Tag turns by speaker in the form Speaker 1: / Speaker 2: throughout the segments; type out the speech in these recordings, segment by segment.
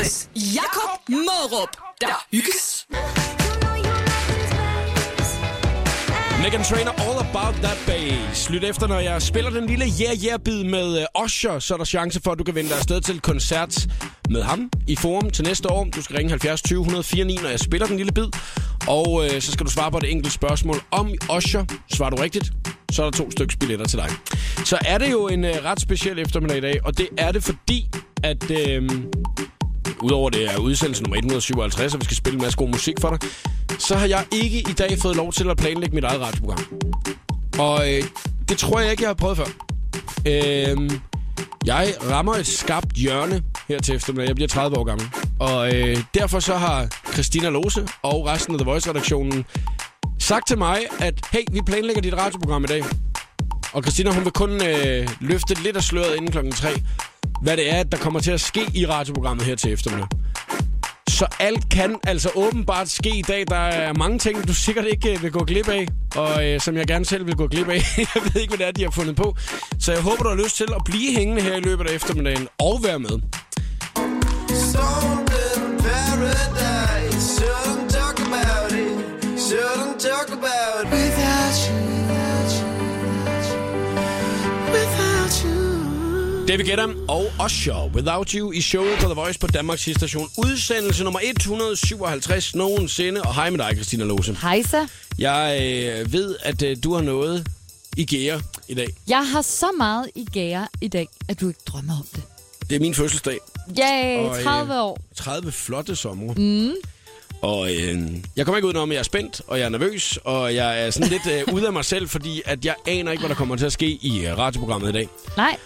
Speaker 1: Nice. Jakob Morup. Der hygges.
Speaker 2: Megan Trainer All About That Bass. Lyt efter, når jeg spiller den lille Yeah Yeah bid med øh, Osher, så er der chance for, at du kan vende dig afsted til koncert med ham i Forum til næste år. Du skal ringe 70 20 149, når jeg spiller den lille bid. Og øh, så skal du svare på et enkelt spørgsmål om Osher. Svarer du rigtigt, så er der to stykker billetter til dig. Så er det jo en øh, ret speciel eftermiddag i dag, og det er det fordi, at... Øh, udover det er udsendelse nummer 157, og vi skal spille en masse god musik for dig, så har jeg ikke i dag fået lov til at planlægge mit eget radioprogram. Og øh, det tror jeg ikke, jeg har prøvet før. Øh, jeg rammer et skarpt hjørne her til eftermiddag. Jeg bliver 30 år gammel. Og øh, derfor så har Christina Lose og resten af The Voice-redaktionen sagt til mig, at hey, vi planlægger dit radioprogram i dag. Og Christina, hun vil kun øh, løfte lidt af sløret inden klokken 3, hvad det er, at der kommer til at ske i radioprogrammet her til eftermiddag. Så alt kan altså åbenbart ske i dag. Der er mange ting, du sikkert ikke øh, vil gå glip af, og øh, som jeg gerne selv vil gå glip af. jeg ved ikke, hvad det er, de har fundet på. Så jeg håber, du har lyst til at blive hængende her i løbet af eftermiddagen og være med. David Guetta og Usher, Without You, i showet på The Voice på Danmarks station. Udsendelse nummer 157 nogensinde. Og hej med dig, Christina Lose.
Speaker 3: Hejsa.
Speaker 2: Jeg øh, ved, at øh, du har noget i gære i dag.
Speaker 3: Jeg har så meget i gære i dag, at du ikke drømmer om det.
Speaker 2: Det er min fødselsdag. Og,
Speaker 3: Yay,
Speaker 2: øh,
Speaker 3: 30 år.
Speaker 2: 30 flotte sommer. Mm. Og øh, jeg kommer ikke udenom, at jeg er spændt, og jeg er nervøs, og jeg er sådan lidt øh, ude af mig selv, fordi at jeg aner ikke, hvad der kommer til at ske i øh, radioprogrammet i dag.
Speaker 3: Nej,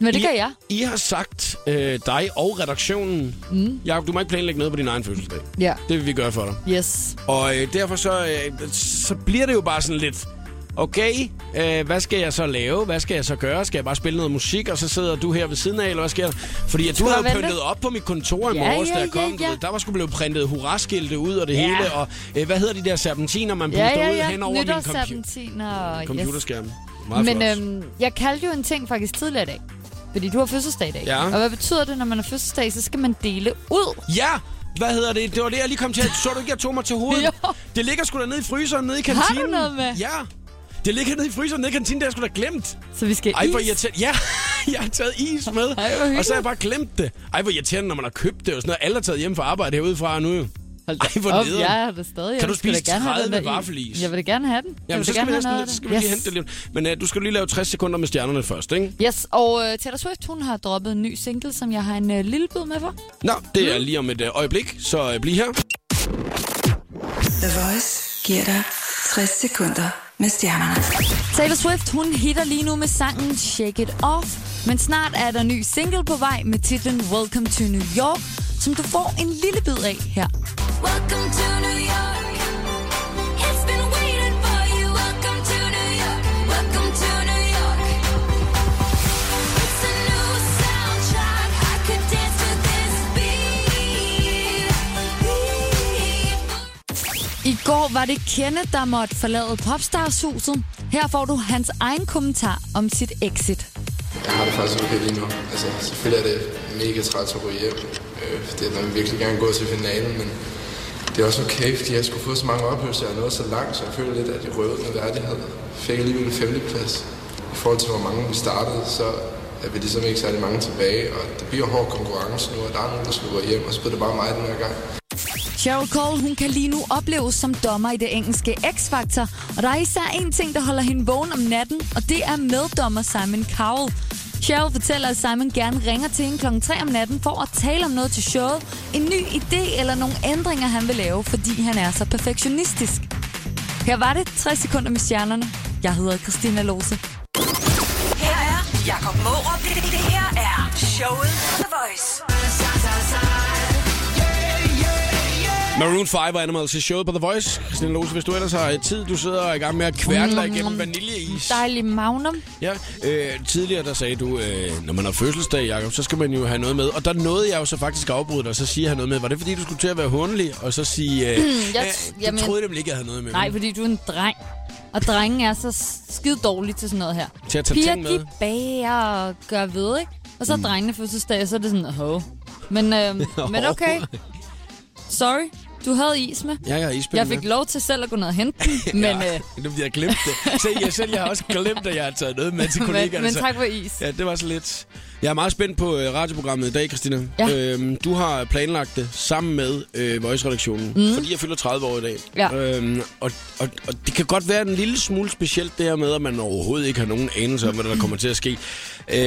Speaker 3: men det gør jeg.
Speaker 2: I, I har sagt, øh, dig og redaktionen, mm. Jacob, du må ikke planlægge noget på din egen fødselsdag.
Speaker 3: Ja.
Speaker 2: Det vil vi gøre for dig.
Speaker 3: Yes.
Speaker 2: Og øh, derfor så, øh, så bliver det jo bare sådan lidt, okay, øh, hvad skal jeg så lave? Hvad skal jeg så gøre? Skal jeg bare spille noget musik, og så sidder du her ved siden af, eller hvad sker der? Fordi at du
Speaker 3: jeg
Speaker 2: havde
Speaker 3: vente?
Speaker 2: pyntet op på mit kontor i
Speaker 3: Ja,
Speaker 2: morges,
Speaker 3: ja,
Speaker 2: da jeg
Speaker 3: ja,
Speaker 2: kom. du
Speaker 3: ja.
Speaker 2: ved. Der var sgu blevet printet hurraskilte ud og det hele, og øh, hvad hedder de der serpentiner, man puster
Speaker 3: Ja, ja,
Speaker 2: ud hen
Speaker 3: ja.
Speaker 2: over min computer?
Speaker 3: Nytårsserpentiner. Yes.
Speaker 2: computerskærm? Meget
Speaker 3: Men
Speaker 2: flot.
Speaker 3: øhm, jeg kaldte jo en ting faktisk tidligere i dag. Fordi du har fødselsdag i dag.
Speaker 2: Ja.
Speaker 3: Og hvad betyder det, når man har fødselsdag? Så skal man dele ud.
Speaker 2: Ja! Hvad hedder det? Det var det, jeg lige kom til. Så du ikke, jeg tog mig til hovedet?
Speaker 3: Jo.
Speaker 2: Det ligger sgu da nede i fryseren, nede i
Speaker 3: du
Speaker 2: kantinen.
Speaker 3: noget med?
Speaker 2: Ja. Det ligger nede i fryseren, nede i kantinen, det har jeg sgu da glemt.
Speaker 3: Så vi skal
Speaker 2: Ej, hvor
Speaker 3: is.
Speaker 2: irriterende. Ja, jeg har taget is
Speaker 3: Ej,
Speaker 2: med.
Speaker 3: hvor
Speaker 2: og så har jeg
Speaker 3: hyggeligt.
Speaker 2: bare glemt det. Ej, hvor irriterende, når man har købt det og sådan noget. Alle er taget hjem fra arbejde herude fra nu. jo. Ej, hvor
Speaker 3: Op,
Speaker 2: nederen.
Speaker 3: jeg har det stadig. Jeg
Speaker 2: Kan du
Speaker 3: vil da
Speaker 2: spise
Speaker 3: gerne have den
Speaker 2: 30
Speaker 3: der i.
Speaker 2: vaffelis?
Speaker 3: Jeg vil da gerne have den. Jeg
Speaker 2: Jamen,
Speaker 3: vil
Speaker 2: så
Speaker 3: da
Speaker 2: skal
Speaker 3: gerne
Speaker 2: vi,
Speaker 3: have noget
Speaker 2: næsten,
Speaker 3: af den.
Speaker 2: lidt- så skal vi lige hente det lige. Men uh, du skal lige lave 60 sekunder med stjernerne først, ikke?
Speaker 3: Yes, og uh, Taylor Swift, hun har droppet en ny single, som jeg har en uh, lille bid med for.
Speaker 2: Nå, det
Speaker 3: mm.
Speaker 2: er lige om et øh, øjeblik, så øh, bliv her.
Speaker 4: The Voice giver dig 60 sekunder med stjernerne.
Speaker 3: Taylor Swift, hun hitter lige nu med sangen Shake It Off, men snart er der ny single på vej med titlen Welcome to New York, som du får en lille bid af her.
Speaker 5: Welcome to New York. It's been waiting for you. Welcome to New York. Welcome to New York. It's a new soundtrack. I could dance to this beat.
Speaker 3: I går var det Kenneth, der måtte forlade Popstarshuset. Her får du hans egen kommentar om sit exit.
Speaker 6: Jeg har det faktisk okay lige nu. Altså, selvfølgelig er det mega træt at ryge hjem. Øh, det er, når man virkelig gerne gå til finalen, men det er også okay, fordi jeg skulle få så mange oplevelser, og noget så langt, så jeg føler lidt, at jeg røvede med værdighed. Fik alligevel en femteplads. I forhold til, hvor mange vi startede, så er vi ligesom ikke særlig mange tilbage, og det bliver hård konkurrence nu, og der er nogen, der slutter hjem, og så bliver det bare mig den her gang.
Speaker 3: Cheryl Cole, hun kan lige nu opleves som dommer i det engelske X-Factor, og der er især en ting, der holder hende vågen om natten, og det er meddommer Simon Cowell. Cheryl fortæller, at Simon gerne ringer til hende kl. 3 om natten for at tale om noget til showet, en ny idé eller nogle ændringer, han vil lave, fordi han er så perfektionistisk. Her var det 60 sekunder med stjernerne. Jeg hedder Christina Lose.
Speaker 7: Her er Jakob Morup. Det, det, det her er showet på The Voice.
Speaker 2: Maroon 5 og Animals i showet på The Voice. Christine Lose, hvis du ellers har øh, tid, du sidder og er i gang med at kværle dig
Speaker 3: Mm.
Speaker 2: igennem vaniljeis.
Speaker 3: Dejlig magnum.
Speaker 2: Ja, øh, tidligere der sagde du, øh, når man har fødselsdag, Jacob, så skal man jo have noget med. Og der nåede jeg jo så faktisk at afbryde dig, og så siger jeg noget med. Var det fordi, du skulle til at være hundelig? Og så sige,
Speaker 3: jeg
Speaker 2: øh, øh,
Speaker 3: t-
Speaker 2: jeg
Speaker 3: jamen-
Speaker 2: troede nemlig ikke, jeg havde noget med.
Speaker 3: Nej, fordi du er en dreng. Og drenge er så skide dårlige til sådan noget her.
Speaker 2: Til at tage
Speaker 3: Piger,
Speaker 2: ting med. Mm.
Speaker 3: de bager og gør ved, ikke? Og så er drengene fødselsdag, og så er det sådan, hov. Men, øh, men okay. Sorry, du havde is med.
Speaker 2: Jeg har ispind
Speaker 3: Jeg fik lov til selv at gå ned og hente den, men, øh,
Speaker 2: Nu bliver jeg glemt det. Se, jeg selv jeg har også glemt, at jeg har taget noget med til kollegaerne.
Speaker 3: men, men
Speaker 2: så-
Speaker 3: tak for is.
Speaker 2: Ja, det var så lidt. Jeg er meget spændt på øh, radioprogrammet i dag, Christina.
Speaker 3: Ja.
Speaker 2: Øhm, du har planlagt det sammen med øh, Voice-redaktionen, mm. fordi jeg fylder 30 år i dag.
Speaker 3: Mhm. Ja.
Speaker 2: Øhm, og, og, og det kan godt være en lille smule specielt det her med, at man overhovedet ikke har nogen anelse om, hvad der kommer til at ske. Øh,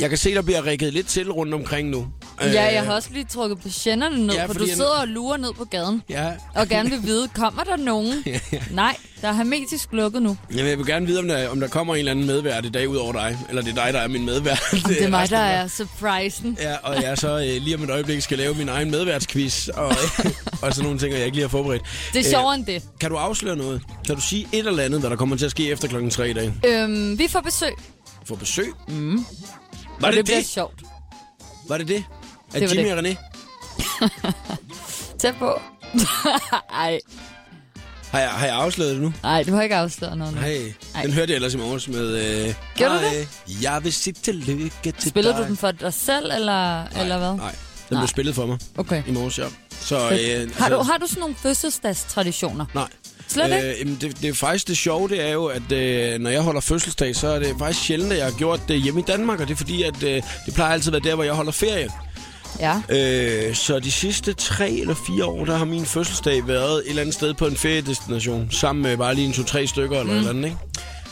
Speaker 2: jeg kan se, der bliver rækket lidt til rundt omkring nu. Øh,
Speaker 3: Ja, jeg har også lige trukket på sjænderne ned,
Speaker 2: Ja,
Speaker 3: ja, for du
Speaker 2: fordi jeg-
Speaker 3: sidder og lurer ned på gaden.
Speaker 2: Ja,
Speaker 3: Og gerne vil vide, kommer der nogen? Nej, der er hermetisk lukket nu.
Speaker 2: Jamen, jeg vil gerne vide, om der, om der kommer en eller anden medvært i dag ud over dig. Eller det er dig, der er min medvært.
Speaker 3: Det, det er mig,
Speaker 2: resten
Speaker 3: der
Speaker 2: af-
Speaker 3: er surprisen.
Speaker 2: Ja, og jeg så øh, lige om et øjeblik skal lave min egen medværtsquiz. Og, og sådan nogle ting, jeg ikke lige har forberedt.
Speaker 3: Det er sjovere end det.
Speaker 2: Øh, kan du afsløre noget? Kan du sige et eller andet, hvad der kommer til at ske efter klokken 3 i dag?
Speaker 3: Øhm, vi får besøg,
Speaker 2: Få besøg? Mm. Var
Speaker 3: og
Speaker 2: det
Speaker 3: det
Speaker 2: det?
Speaker 3: bliver sjovt.
Speaker 2: Var det det? Af
Speaker 3: Det var
Speaker 2: Jimmy
Speaker 3: det.
Speaker 2: og René?
Speaker 3: Tæt på. Ej,
Speaker 2: Har jeg, har jeg afsløret det nu?
Speaker 3: nej, du har ikke afsløret noget nu.
Speaker 2: Hej.
Speaker 3: Ej.
Speaker 2: Den hørte jeg ellers i morges med... Øh,
Speaker 3: Gjorde du
Speaker 2: "Hej, Jeg vil sige tillykke til
Speaker 3: Spiller
Speaker 2: dig.
Speaker 3: du den for dig selv, eller, nej, eller hvad?
Speaker 2: Nej, den blev
Speaker 3: Nej.
Speaker 2: spillet for mig
Speaker 3: Okay.
Speaker 2: i morges, ja. Så, øh,
Speaker 3: Har du,
Speaker 2: altså-
Speaker 3: har du sådan nogle fødselsdagstraditioner?
Speaker 2: Nej.
Speaker 3: Slet ikke?
Speaker 2: Øh, jamen, det, det er faktisk det sjove, det er jo, at øh, når jeg holder fødselsdag, så er det faktisk sjældent, at jeg har gjort det hjemme i Danmark, og det er fordi, at øh, det plejer altid at være der, hvor jeg holder ferie.
Speaker 3: Ja.
Speaker 2: Øh, så de sidste tre eller fire år, der har min fødselsdag været et eller andet sted på en feriedestination, sammen med bare lige en to-tre stykker eller mm. et eller andet, ikke?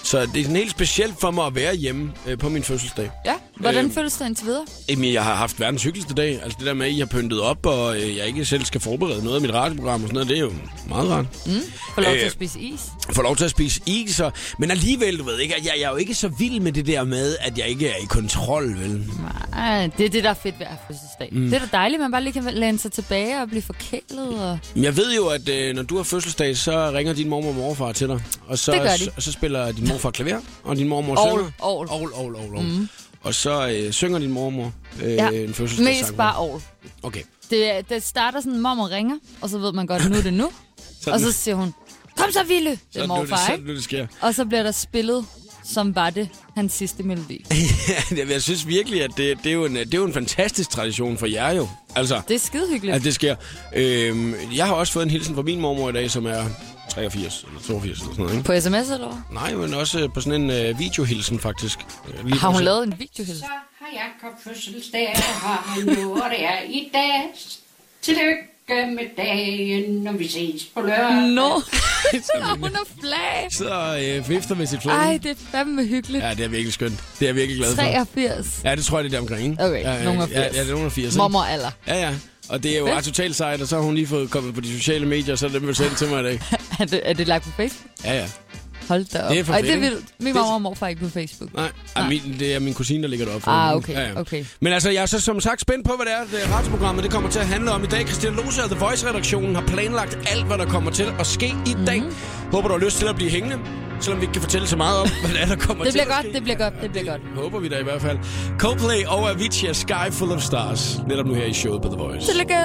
Speaker 2: Så det er sådan helt specielt for mig at være hjemme øh, på min fødselsdag.
Speaker 3: Ja, hvordan
Speaker 2: Øh,
Speaker 3: øh, føles det indtil videre?
Speaker 2: Jamen, jeg har haft verdens hyggeligste dag. Altså det der med, at I har pyntet op, og øh, jeg ikke selv skal forberede noget af mit radioprogram og sådan noget, det er jo meget rart. Mm.
Speaker 3: Får lov til
Speaker 2: øh,
Speaker 3: at spise is?
Speaker 2: får lov til at spise is, og, men alligevel, du ved ikke, at jeg, jeg er jo ikke så vild med det der med, at jeg ikke er i kontrol, vel?
Speaker 3: Nej, det er det, der er fedt ved at have fødselsdag. Mm. Det er da dejligt, man bare lige kan læne sig tilbage og blive forkælet. Og...
Speaker 2: Men Jeg ved jo, at øh, når du har fødselsdag, så ringer din mormor og morfar til dig, og så,
Speaker 3: Det gør de.
Speaker 2: så, så spiller din morfar klaver, og din mormor
Speaker 3: Orgel,
Speaker 2: synger.
Speaker 3: orgel.
Speaker 2: Orgel, orgel, orgel, orgel. Mm. Og så øh, synger din mormor øh, ja.
Speaker 3: Mhm. Ja,
Speaker 2: en fødselsdagssang.
Speaker 3: Mest bare år.
Speaker 2: Okay.
Speaker 3: Det, er- det starter sådan, mormor ringer, og så ved man godt, nu er det nu. og så siger hun, kom så, Ville! Det er
Speaker 2: Sådan nu, det,
Speaker 3: morfar,
Speaker 2: sådan
Speaker 3: ikke?
Speaker 2: nu det sker.
Speaker 3: Og så bliver der spillet, som var det, hans sidste melodi.
Speaker 2: Jamen, jeg synes virkelig, at det, det, er jo en, øh, det er jo en fantastisk tradition for jer jo. Altså,
Speaker 3: Det er skide hyggeligt.
Speaker 2: at det sker. Øhm, jeg har også fået en hilsen fra min mormor i dag, som er 83 eller 82 eller sådan noget, ikke?
Speaker 3: På sms eller hvad?
Speaker 2: Nej, men også øh, på sådan en øh, videohilsen, faktisk. Øh, lige
Speaker 3: Har hun
Speaker 2: præcis.
Speaker 3: lavet en videohilsen?
Speaker 8: Så har Jakob fødselsdag, og har han nu, og det er i dag. Tillykke med dagen, når vi ses på
Speaker 9: Mm.
Speaker 8: lørdag.
Speaker 3: Nå, hun er flag.
Speaker 2: sidder og øh, vifter med sit fløde.
Speaker 3: Ej, det er fandme hyggeligt.
Speaker 2: Ja, det er virkelig skønt. Det er jeg virkelig glad for.
Speaker 3: 83.
Speaker 2: Ja, det tror jeg, det er der omkring, ikke?
Speaker 3: Okay,
Speaker 2: ja, ja,
Speaker 3: nogen af
Speaker 2: Ja, ja,
Speaker 3: 80.
Speaker 2: det er nogen af 80, ikke?
Speaker 3: Mormor alder.
Speaker 2: Ja, ja. Og det er jo ret totalt sejt, og så har hun lige fået kommet på de sociale medier, og så er det blevet sendt til mig i dag.
Speaker 3: Er det, er det lagt på Facebook?
Speaker 2: Ja, ja.
Speaker 3: Hold da op.
Speaker 2: Det er for
Speaker 3: Ej,
Speaker 2: fedt,
Speaker 3: det er
Speaker 2: ikke?
Speaker 3: vildt. Min
Speaker 2: Det-
Speaker 3: mormor og morfar er ikke på Facebook.
Speaker 2: Nej, Ej, min, det er min kusine, der ligger deroppe. for
Speaker 3: Ah,
Speaker 2: hende.
Speaker 3: okay, okay.
Speaker 2: Men altså, jeg er så som sagt spændt på, hvad det er, det radioprogrammet det kommer til at handle om i dag. Christian Lose og The Voice-redaktionen har planlagt alt, hvad der kommer til at ske i
Speaker 3: Mhm.
Speaker 2: dag. Håber, du har lyst til at blive hængende, selvom vi ikke kan fortælle så meget om, hvad det er, der kommer
Speaker 3: Det
Speaker 2: til
Speaker 3: bliver
Speaker 2: at
Speaker 3: godt,
Speaker 2: ske.
Speaker 3: det bliver godt, det bliver godt.
Speaker 2: Håber vi da i hvert fald. Coldplay og Avicii er Sky Full of Stars. Netop nu her i showet på The Voice.
Speaker 3: Tillykke.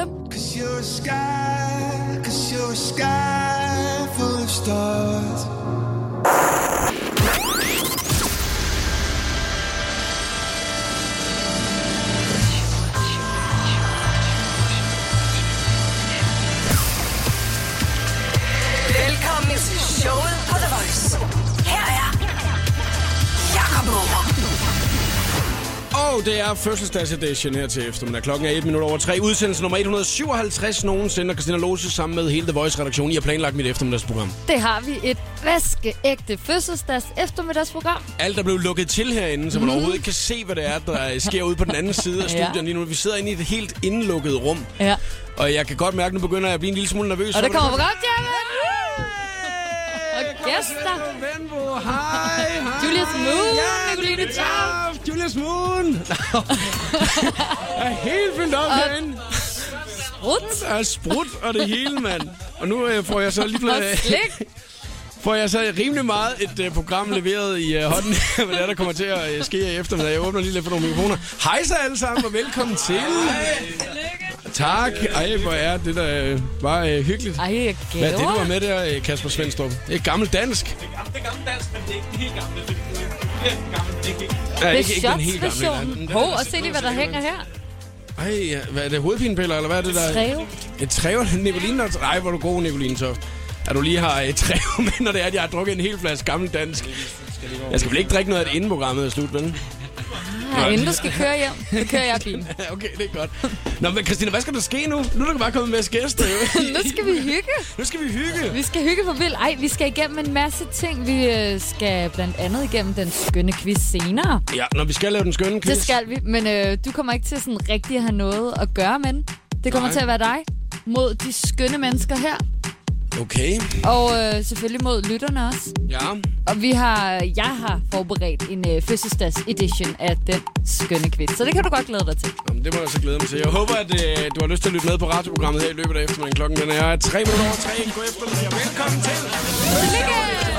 Speaker 7: Velkommen til showet på The Voice. Her er Jakob Morup.
Speaker 2: Og det er fødselsdagsedition her til eftermiddag. Klokken er 1 minut over 3. Udsendelse nummer 157 nogensinde. Og Christina Lose sammen med hele The Voice-redaktionen. I har planlagt mit eftermiddagsprogram.
Speaker 3: Det har vi et vaskeægte fødselsdags eftermiddagsprogram.
Speaker 2: Alt der blev lukket til herinde, så man overhovedet ikke kan se, hvad det er, der sker ude på den anden side af
Speaker 3: Mhm. Ja.
Speaker 2: studiet lige nu. Vi sidder inde i et helt indelukket rum.
Speaker 3: Ja.
Speaker 2: Og jeg kan godt mærke, at nu begynder jeg at blive en lille smule nervøs.
Speaker 3: Og
Speaker 2: for,
Speaker 3: der
Speaker 2: hvad
Speaker 3: kommer program, Jacob! Og gæster.
Speaker 2: Venbo, hej, hej.
Speaker 3: Julius Moon, Nicoline
Speaker 2: Julius
Speaker 3: Tarp.
Speaker 2: Tarp, Julius Moon. jeg er helt fyldt op herinde.
Speaker 3: Ruts
Speaker 2: Der er sprut og det hele, mand. Og nu øh, får jeg så lige
Speaker 3: og
Speaker 2: blevet,
Speaker 3: slik.
Speaker 2: får jeg så rimelig meget et øh, program leveret i øh, hånden, hvad det er, der kommer til at øh, ske i eftermiddag. Jeg åbner lige lidt for nogle mikrofoner. Hej så alle sammen, og velkommen til. Tak. Ej, hvor er det der øh, var øh, hyggeligt.
Speaker 3: Ej, jeg
Speaker 2: Hvad er det, du har
Speaker 3: gaver.
Speaker 2: med der, øh, Kasper Svendstrup? Det er gammel dansk. Ja,
Speaker 3: Det er
Speaker 2: ikke- ikke den helt gamle, nej.
Speaker 3: shots-versionen.
Speaker 2: Den- den
Speaker 3: Hov,
Speaker 2: er
Speaker 3: og
Speaker 2: sådan
Speaker 3: se lige,
Speaker 2: noget,
Speaker 3: hvad der
Speaker 2: så-
Speaker 3: hænger her.
Speaker 2: Ej, hvad er det? Hovedpinepiller, eller hvad er det der?
Speaker 3: Treo.
Speaker 2: Et træve? Nicoline? og- Nej, hvor er du god, Nicoline Toft. At du lige har et træve med, når det er, at jeg har drukket en hel flaske gammel dansk. Jeg skal vel ikke drikke noget af det, inden programmet er slut, vel?
Speaker 3: Ja, inden du skal køre hjem, så kører jeg bilen.
Speaker 2: Ja, okay, det er godt. Nå, men Christina, hvad skal der ske nu? Nu er du bare kommet med os gæster, jo.
Speaker 3: Nu skal vi hygge.
Speaker 2: Nu skal vi hygge.
Speaker 3: Vi skal hygge for vildt. Ej, vi skal igennem en masse ting. Vi øh, skal blandt andet igennem den skønne quiz senere.
Speaker 2: Ja, når vi skal lave den skønne quiz.
Speaker 3: Det skal vi, men øh, du kommer ikke til sådan rigtig at have noget at gøre med den. Det kommer Nej.
Speaker 2: Nej.
Speaker 3: til at være dig mod de skønne mennesker her,
Speaker 2: Okay,
Speaker 3: og øh, selvfølgelig mod lytterne også.
Speaker 2: ja.
Speaker 3: Og vi har, jeg har forberedt en øh, fødselsdags-edition af den skønne quiz, så det kan du godt glæde dig til.
Speaker 2: Jamen, det må jeg så glæde mig til. Jeg håber, at øh, du har lyst til at lytte med på radioprogrammet her i løbet af eftermiddagen. Klokken den er 3 minutter over 3. God eftermiddag. Velkommen til.
Speaker 7: The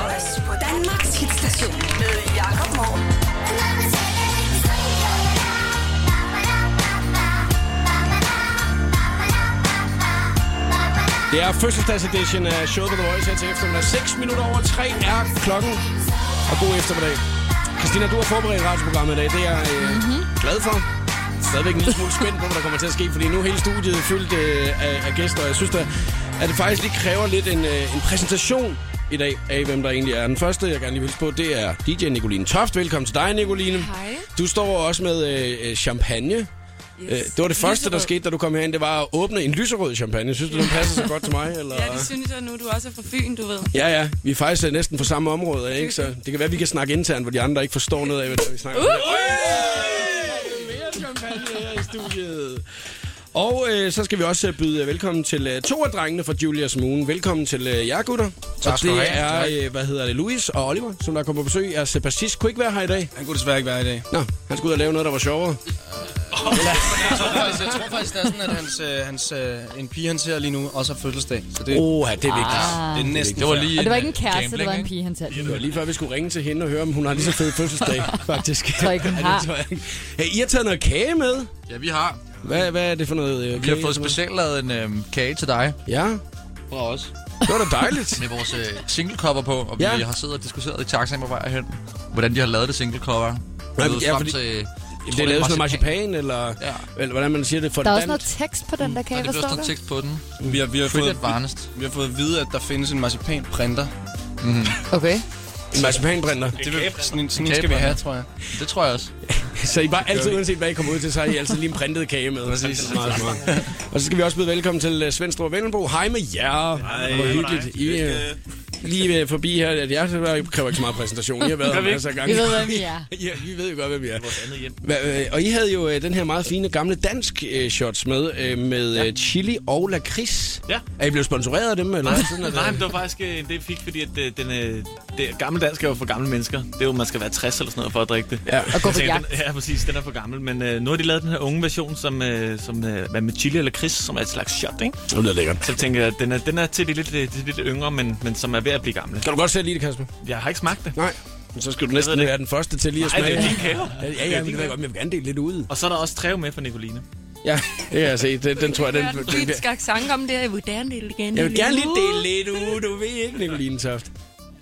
Speaker 7: Voice på Danmarks hitstation med Jakob Morup.
Speaker 2: Det er fødselsdagsedition af showet på The Voice her til eftermiddag. 6 minutter over 3 er klokken. Og god eftermiddag. Christina, du har forberedt radioprogrammet i dag. Det er jeg øh, mm-hmm. glad for. Stadigvæk en lille smule spændt på, hvad der kommer til at ske, fordi nu er hele studiet fyldt øh, af, af gæster, og jeg synes, da, at det faktisk lige kræver lidt en, øh, en præsentation i dag af, hvem der egentlig er. Den første, jeg gerne lige vil hilse på, det er DJ Nicoline Toft. Velkommen til dig, Nicoline.
Speaker 10: Hej.
Speaker 2: Du står også med øh, øh, champagne. Yes. Øh, Det var det første, der
Speaker 10: Lyserød.
Speaker 2: skete, da du kom herind. Det var at åbne en lyserød champagne. Synes du, den passer så godt til mig? Eller?
Speaker 10: Ja, det synes jeg nu. Du også er fra Fyn, du ved.
Speaker 2: Ja, ja. Vi er faktisk øh, næsten på samme område, ikke? Så det kan være, vi kan snakke internt, hvor de andre ikke forstår noget af, hvad det er, vi snakker om. Uh! Mere champagne her i studiet. Og øh, så skal vi også øh, byde øh, velkommen til øh, to af drengene fra Julius Moon. Velkommen til øh, jer, gutter.
Speaker 11: Tak
Speaker 2: og
Speaker 11: skal du
Speaker 2: det er,
Speaker 11: have.
Speaker 2: øh, hvad hedder det, Louis og Oliver, som der kommer på besøg. Jeres øh, bassist kunne ikke være her i dag.
Speaker 11: Han kunne desværre ikke være i dag.
Speaker 2: Nå, han skulle ud og lave noget, der var sjovere.
Speaker 11: Jeg tror faktisk, altså, jeg tror faktisk det er sådan, at hans, øh, hans, øh, en pige, han ser lige nu, også har fødselsdag. Så det,
Speaker 2: Åh, ja, det er vigtigt.
Speaker 11: det er næsten
Speaker 10: Det var
Speaker 11: fair.
Speaker 10: lige
Speaker 3: Og det var
Speaker 10: en,
Speaker 3: ikke en kæreste,
Speaker 10: gambling,
Speaker 3: det var en
Speaker 10: ikke?
Speaker 3: pige, han talte.
Speaker 2: Det var lige før, vi skulle ringe til hende og høre, om hun har lige så fed fødselsdag, faktisk. Jeg
Speaker 3: tror ikke, hun har.
Speaker 2: det tror jeg ikke. Hey, I har taget noget kage med.
Speaker 11: Ja, vi har.
Speaker 2: Hvad, hvad er det for noget? øh,
Speaker 11: Vi har
Speaker 2: kage?
Speaker 11: fået specielt lavet en øh, kage til dig.
Speaker 2: Ja,
Speaker 11: Fra os.
Speaker 2: det var da dejligt.
Speaker 11: Med vores øh, single-cover på, og vi
Speaker 2: Ja.
Speaker 11: ja. har siddet og diskuteret i taxaen på vej herhen, hvordan de har lavet det single-cover. Vi
Speaker 2: Ja,
Speaker 11: er nået
Speaker 2: ja,
Speaker 11: frem
Speaker 2: fordi-
Speaker 11: til, jeg tror,
Speaker 2: det er lavet sådan noget
Speaker 11: marcipan.
Speaker 2: marcipan, eller,
Speaker 11: Ja.
Speaker 2: eller hvordan man siger det for
Speaker 3: Der er også
Speaker 2: dansk.
Speaker 3: noget tekst på den der
Speaker 11: Ja,
Speaker 3: kage,
Speaker 11: det
Speaker 3: hvad
Speaker 11: bliver
Speaker 3: står
Speaker 11: sådan
Speaker 3: der?
Speaker 11: tekst på den.
Speaker 9: Vi har, vi, har
Speaker 11: Pretty
Speaker 9: fået,
Speaker 11: advanced.
Speaker 9: vi har fået at vide, at der findes en marcipanprinter.
Speaker 3: Okay.
Speaker 2: En marcipanbrinter.
Speaker 9: Det vil, sådan, en- sådan en
Speaker 11: En
Speaker 9: skal vi
Speaker 11: kageprinter.
Speaker 9: have, tror jeg.
Speaker 11: Det tror jeg også.
Speaker 2: Så I bare altid, uanset hvad I kommer ud til, så har I altid lige en printet kage med. Præcis. Meget smart. Og så skal vi også byde velkommen til øh, Svend Stor Vendelbo. Hej med jer. Hej. Hvor hyggeligt. I, øh, lige øh, forbi her, at jeg jeg kræver ikke så meget præsentation. I har været her masser af gange.
Speaker 3: Vi ved, hvem I er.
Speaker 2: Ja, vi ved jo godt, hvem vi er. Vores andet hjem. Hva, øh, og I havde jo øh, den her meget fine gamle dansk øh, shots med, øh, med ja. chili og lakrids.
Speaker 9: Ja.
Speaker 2: Er I blevet sponsoreret af dem? Eller? hvad? Sådan, at,
Speaker 9: Nej, men det var faktisk øh, det, jeg fik, fordi at øh, den, øh, det, gammel dansk er jo for gamle mennesker. Det er jo, man skal være 60 eller sådan noget for at drikke det.
Speaker 2: Ja.
Speaker 3: Og gå
Speaker 9: Jeg
Speaker 3: på
Speaker 9: tænkte,
Speaker 3: jagt.
Speaker 9: den- Ja, præcis. Den er for gammel. Men øh, nu har de lavet den her unge version, som, øh, som øh, hvad med chili eller kris, som er et slags shot, ikke?
Speaker 2: Det lyder lækkert.
Speaker 9: Så tænker jeg, at den er, den er til de lidt, øh, de lidt yngre, men, men som er ved at blive gamle.
Speaker 2: Kan du godt selv lide det, Kasper?
Speaker 9: Jeg har ikke smagt det.
Speaker 2: Nej. Men så skal du næsten
Speaker 9: ved det
Speaker 2: være den første til lige at
Speaker 9: Nej,
Speaker 2: smage.
Speaker 9: det er din kære.
Speaker 2: Ja, ja, men det ved jeg godt, men jeg vil gerne dele lidt ud.
Speaker 9: Og så er der også træve med for Nicoline.
Speaker 2: Ja, det kan jeg se. Den, den tror jeg, den...
Speaker 10: Jeg har
Speaker 2: den, den
Speaker 10: politisk accent om det, jeg vil gerne dele igen.
Speaker 2: jeg vil gerne lige dele lidt ud, du ved ikke, Nicoline Toft.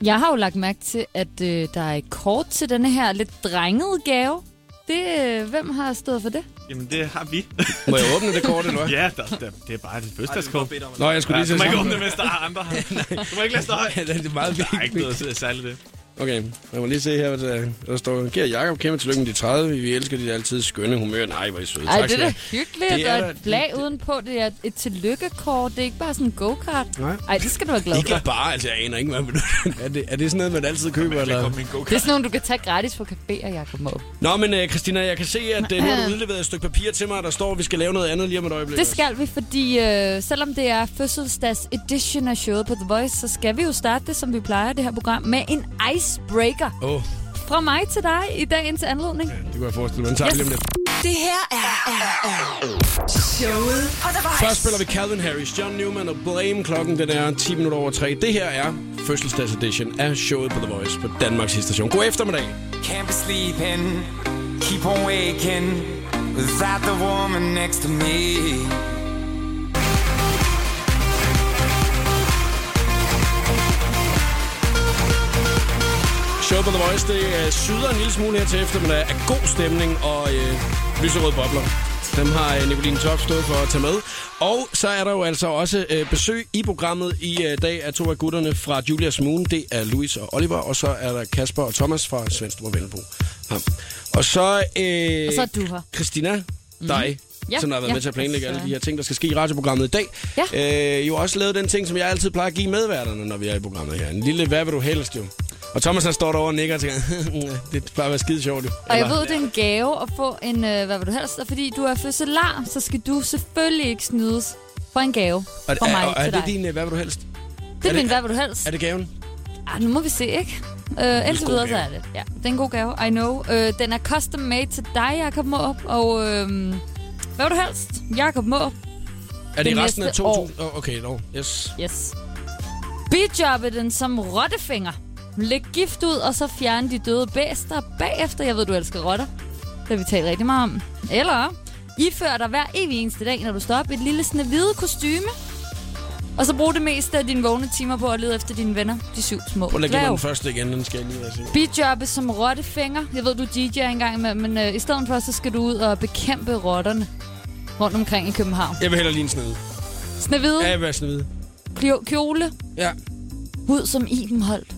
Speaker 3: Jeg har jo lagt mærke til, at øh, der er et kort til denne her lidt drengede gave. Det, øh, hvem har stået for det?
Speaker 9: Jamen, det har vi.
Speaker 2: Må jeg åbne det kort, eller hvad?
Speaker 9: ja, der, der, det er bare et fødselsdagskort.
Speaker 2: Nå, jeg skulle
Speaker 9: Ja,
Speaker 2: lige
Speaker 9: du
Speaker 2: til at
Speaker 9: må ikke
Speaker 2: sige.
Speaker 9: åbne, det, hvis der er andre her. Du må ikke lade stå højt.
Speaker 2: Ja, det er meget
Speaker 9: Der er ikke
Speaker 2: vigtigt.
Speaker 9: noget særligt det.
Speaker 2: Okay, lad mig lige se her, hvad der, der står. Kære Jakob, kæmpe tillykke med de 30. Vi elsker dit altid skønne humør. Nej, hvor er I søde.
Speaker 3: Ej, det
Speaker 2: Tak skal
Speaker 3: er da
Speaker 2: jeg.
Speaker 3: hyggeligt.
Speaker 2: Det
Speaker 3: Det
Speaker 2: er
Speaker 3: er
Speaker 2: da-
Speaker 3: og et flag udenpå. Det er et tillykkekort. Det er ikke bare sådan en go-kart.
Speaker 2: Nej.
Speaker 3: Ej, det skal du være glad
Speaker 2: Ikke
Speaker 3: for.
Speaker 2: bare, altså jeg aner ikke, hvad er det, er det sådan noget, man altid køber?
Speaker 9: Jeg
Speaker 2: Eller?
Speaker 9: kom min
Speaker 3: Det er
Speaker 9: go-kart.
Speaker 3: sådan nogle, du kan tage gratis på caféer, Jacob Måb.
Speaker 2: Nå, men uh, Christina, jeg kan se, at uh, nu har du udleveret et stykke papir til mig, der står, at vi skal lave noget andet lige om et øjeblik.
Speaker 3: Det skal vi, fordi øh, selvom det er fødselsdags edition af showet på The Voice, så skal vi jo starte det, som vi plejer det her program, med en icebreaker.
Speaker 2: Åh, oh,
Speaker 3: Fra mig til dig i dagens anledning.
Speaker 2: det kunne jeg forestille mig. Men tak yes.
Speaker 3: Yes.
Speaker 2: lige om lidt.
Speaker 7: Det her er, er, er showet på The Voice.
Speaker 2: Først spiller vi Calvin Harris, John Newman og Blame. Klokken den er 10 minutter over 3. Det her er fødselsdags edition af showet på The Voice på Danmarks station. God eftermiddag.
Speaker 11: Can't be sleeping, keep on waking, without the woman next to me.
Speaker 2: Showet på The Voice, det øh, syder en lille smule her til eftermiddag af god stemning og øh, lyserøde bobler. Dem har øh, Nicoline Toft stået for at tage med. Og så er der jo altså også øh, besøg i programmet i øh, dag af to af gutterne fra Julias Moon. Det er Louis og Oliver, og så er der Kasper og Thomas fra Svendstrup og Vennebo. Ham. Og så... Øh,
Speaker 3: Og så er du her.
Speaker 2: Christina,
Speaker 3: Mhm.
Speaker 2: dig,
Speaker 3: Ja,
Speaker 2: ja, som har været
Speaker 3: ja.
Speaker 2: med til at planlægge alle
Speaker 3: Altså-
Speaker 2: de her ting, der skal ske i radioprogrammet i dag. Ja. Øh, jo også lavet den ting, som jeg altid plejer at give medværterne, når vi er i programmet her. En lille, hvad vil du helst jo? Og Thomas han står derovre og nikker og tænker, det er bare være skide sjovt jo.
Speaker 3: Og jeg
Speaker 2: Eller-
Speaker 3: ved, det er en gave at få en, øh, hvad vil du helst, og fordi du er fødselar, så skal du selvfølgelig ikke snydes for en gave
Speaker 2: Og,
Speaker 3: fra mig
Speaker 2: er, og, er
Speaker 3: til
Speaker 2: det
Speaker 3: dig.
Speaker 2: din, øh, hvad vil du helst?
Speaker 3: det er min,
Speaker 2: det-
Speaker 3: hvad vil du helst?
Speaker 2: Er det gaven?
Speaker 3: Ah, nu må vi se, ikke? Øh, indtil
Speaker 2: god
Speaker 3: videre, så
Speaker 2: gave.
Speaker 3: er det. Ja, det er en god gave, I know. Øh, den er custom made til dig, Jacob Måb, og øh, hvad vil du helst? Jacob Måb.
Speaker 2: Er det,
Speaker 3: Det
Speaker 2: i resten af
Speaker 3: næste
Speaker 2: 2000? Oh, okay, no. Yes.
Speaker 3: Yes. Bijobbet den som rottefinger. Læg gift ud, og så fjerne de døde bæster bagefter. Jeg ved, du elsker rotter. Det har vi talt rigtig meget om. Eller ifør dig hver evig eneste dag, når du står op, et lille snehvide kostyme. Og så brug det meste af dine vågne timer på at lede efter dine venner, de syv små
Speaker 2: Prøv at lægge mig
Speaker 3: dværge.
Speaker 2: den første igen, den skal jeg lige være sikker.
Speaker 3: Bidjobbe som rottefinger. Jeg ved, du er DJ engang imellem, men øh, i stedet for, så skal du ud og bekæmpe rotterne rundt omkring i København.
Speaker 2: Jeg vil hellere lige en snede.
Speaker 3: Uh. Snehvide,
Speaker 2: Ja, jeg vil være snede.
Speaker 3: klo- kjole,
Speaker 2: Ja.
Speaker 3: hud som Iben Holt.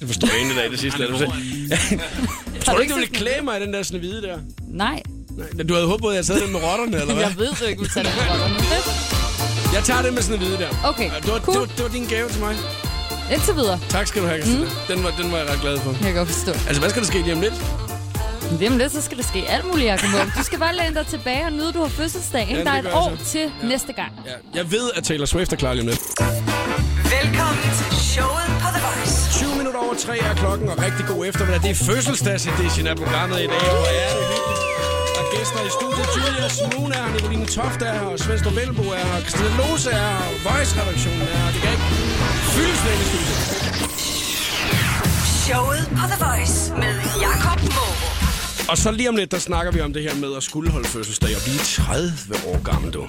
Speaker 2: Det forstår jeg egentlig af det sidste. lad os se. Tror du ikke, du ville klæde mig i den der snehvide der?
Speaker 3: Nej.
Speaker 2: Nej, Du havde håbet, at jeg sad den med rotterne, eller hvad?
Speaker 3: Jeg ved du ikke, du tager den rotter nu.
Speaker 2: Jeg tager det med snehvide der.
Speaker 3: Okay,
Speaker 2: Det var, det, var, det var din gave til mig.
Speaker 3: indtil videre.
Speaker 2: Tak skal du have, Christina. Mm. Den, var, den var jeg ret glad for.
Speaker 3: Jeg kan godt forstå.
Speaker 2: Altså, hvad skal der ske lige om lidt?
Speaker 3: Lige om lidt, så skal der ske alt muligt, Jacob Måb. Du skal bare læne dig tilbage og nyde, du har fødselsdag.
Speaker 2: Ja,
Speaker 3: ikke?
Speaker 2: det
Speaker 3: der er et
Speaker 2: gør jeg
Speaker 3: år
Speaker 2: så.
Speaker 3: til næste gang.
Speaker 2: Jeg ved, at Taylor Swift er klar lige om lidt.
Speaker 7: Velkommen til showet på The Voice.
Speaker 2: 20 minutter over 3 er klokken, og rigtig god eftermiddag. Det er fødselsdagsedition af programmet i dag, og er det hyggeligt. Og gæster i studiet, Julia Simone er her, Nicoline Toft er her, og Svendstrup Velbo er her, og Christina Lose er her, og Voice-redaktionen er her. Det kan ikke fyldes med i studiet.
Speaker 7: Showet på The Voice med Jakob Morup.
Speaker 2: Og så lige om lidt, der snakker vi om det her med at skulle holde fødselsdag og blive 30 år gammel, du.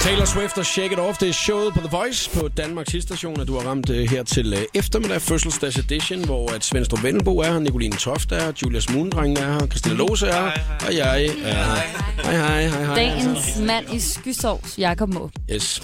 Speaker 2: Taylor Swift og Shake It Off, det er showet på The Voice på Danmarks Hitstation, og du har ramt øh, her til øh, eftermiddag fødselsdags edition, hvor at Svendstrup Vennebo er her, Nicoline Toft er her, Julia Smoondrengen er her, Christina Lose er her, og jeg er her. Hej, hej, hej, hej.
Speaker 3: Dagens mand i skysovs, Jacob Måb.
Speaker 2: Yes.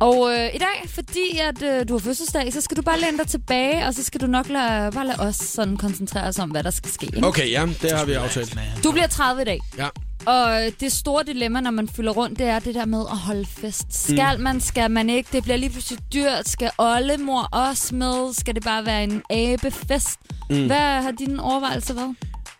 Speaker 3: Og øh, i dag, fordi at øh, du har fødselsdag, så skal du bare læne dig tilbage, og så skal du nok lade, bare lade os sådan koncentrere os om, hvad der skal ske. ikke?
Speaker 2: Okay, ja, det har vi aftalt.
Speaker 3: Du bliver 30 i dag.
Speaker 2: Ja.
Speaker 3: Og øh, det store dilemma, når man fylder rundt, det er det der med at holde fest. Skal
Speaker 2: Mm.
Speaker 3: man, skal man ikke? Det bliver lige pludselig dyrt. Skal oldemor også med? Skal det bare være en abefest? Mm.
Speaker 2: Mm.
Speaker 3: Hvad har dine overvejelser været?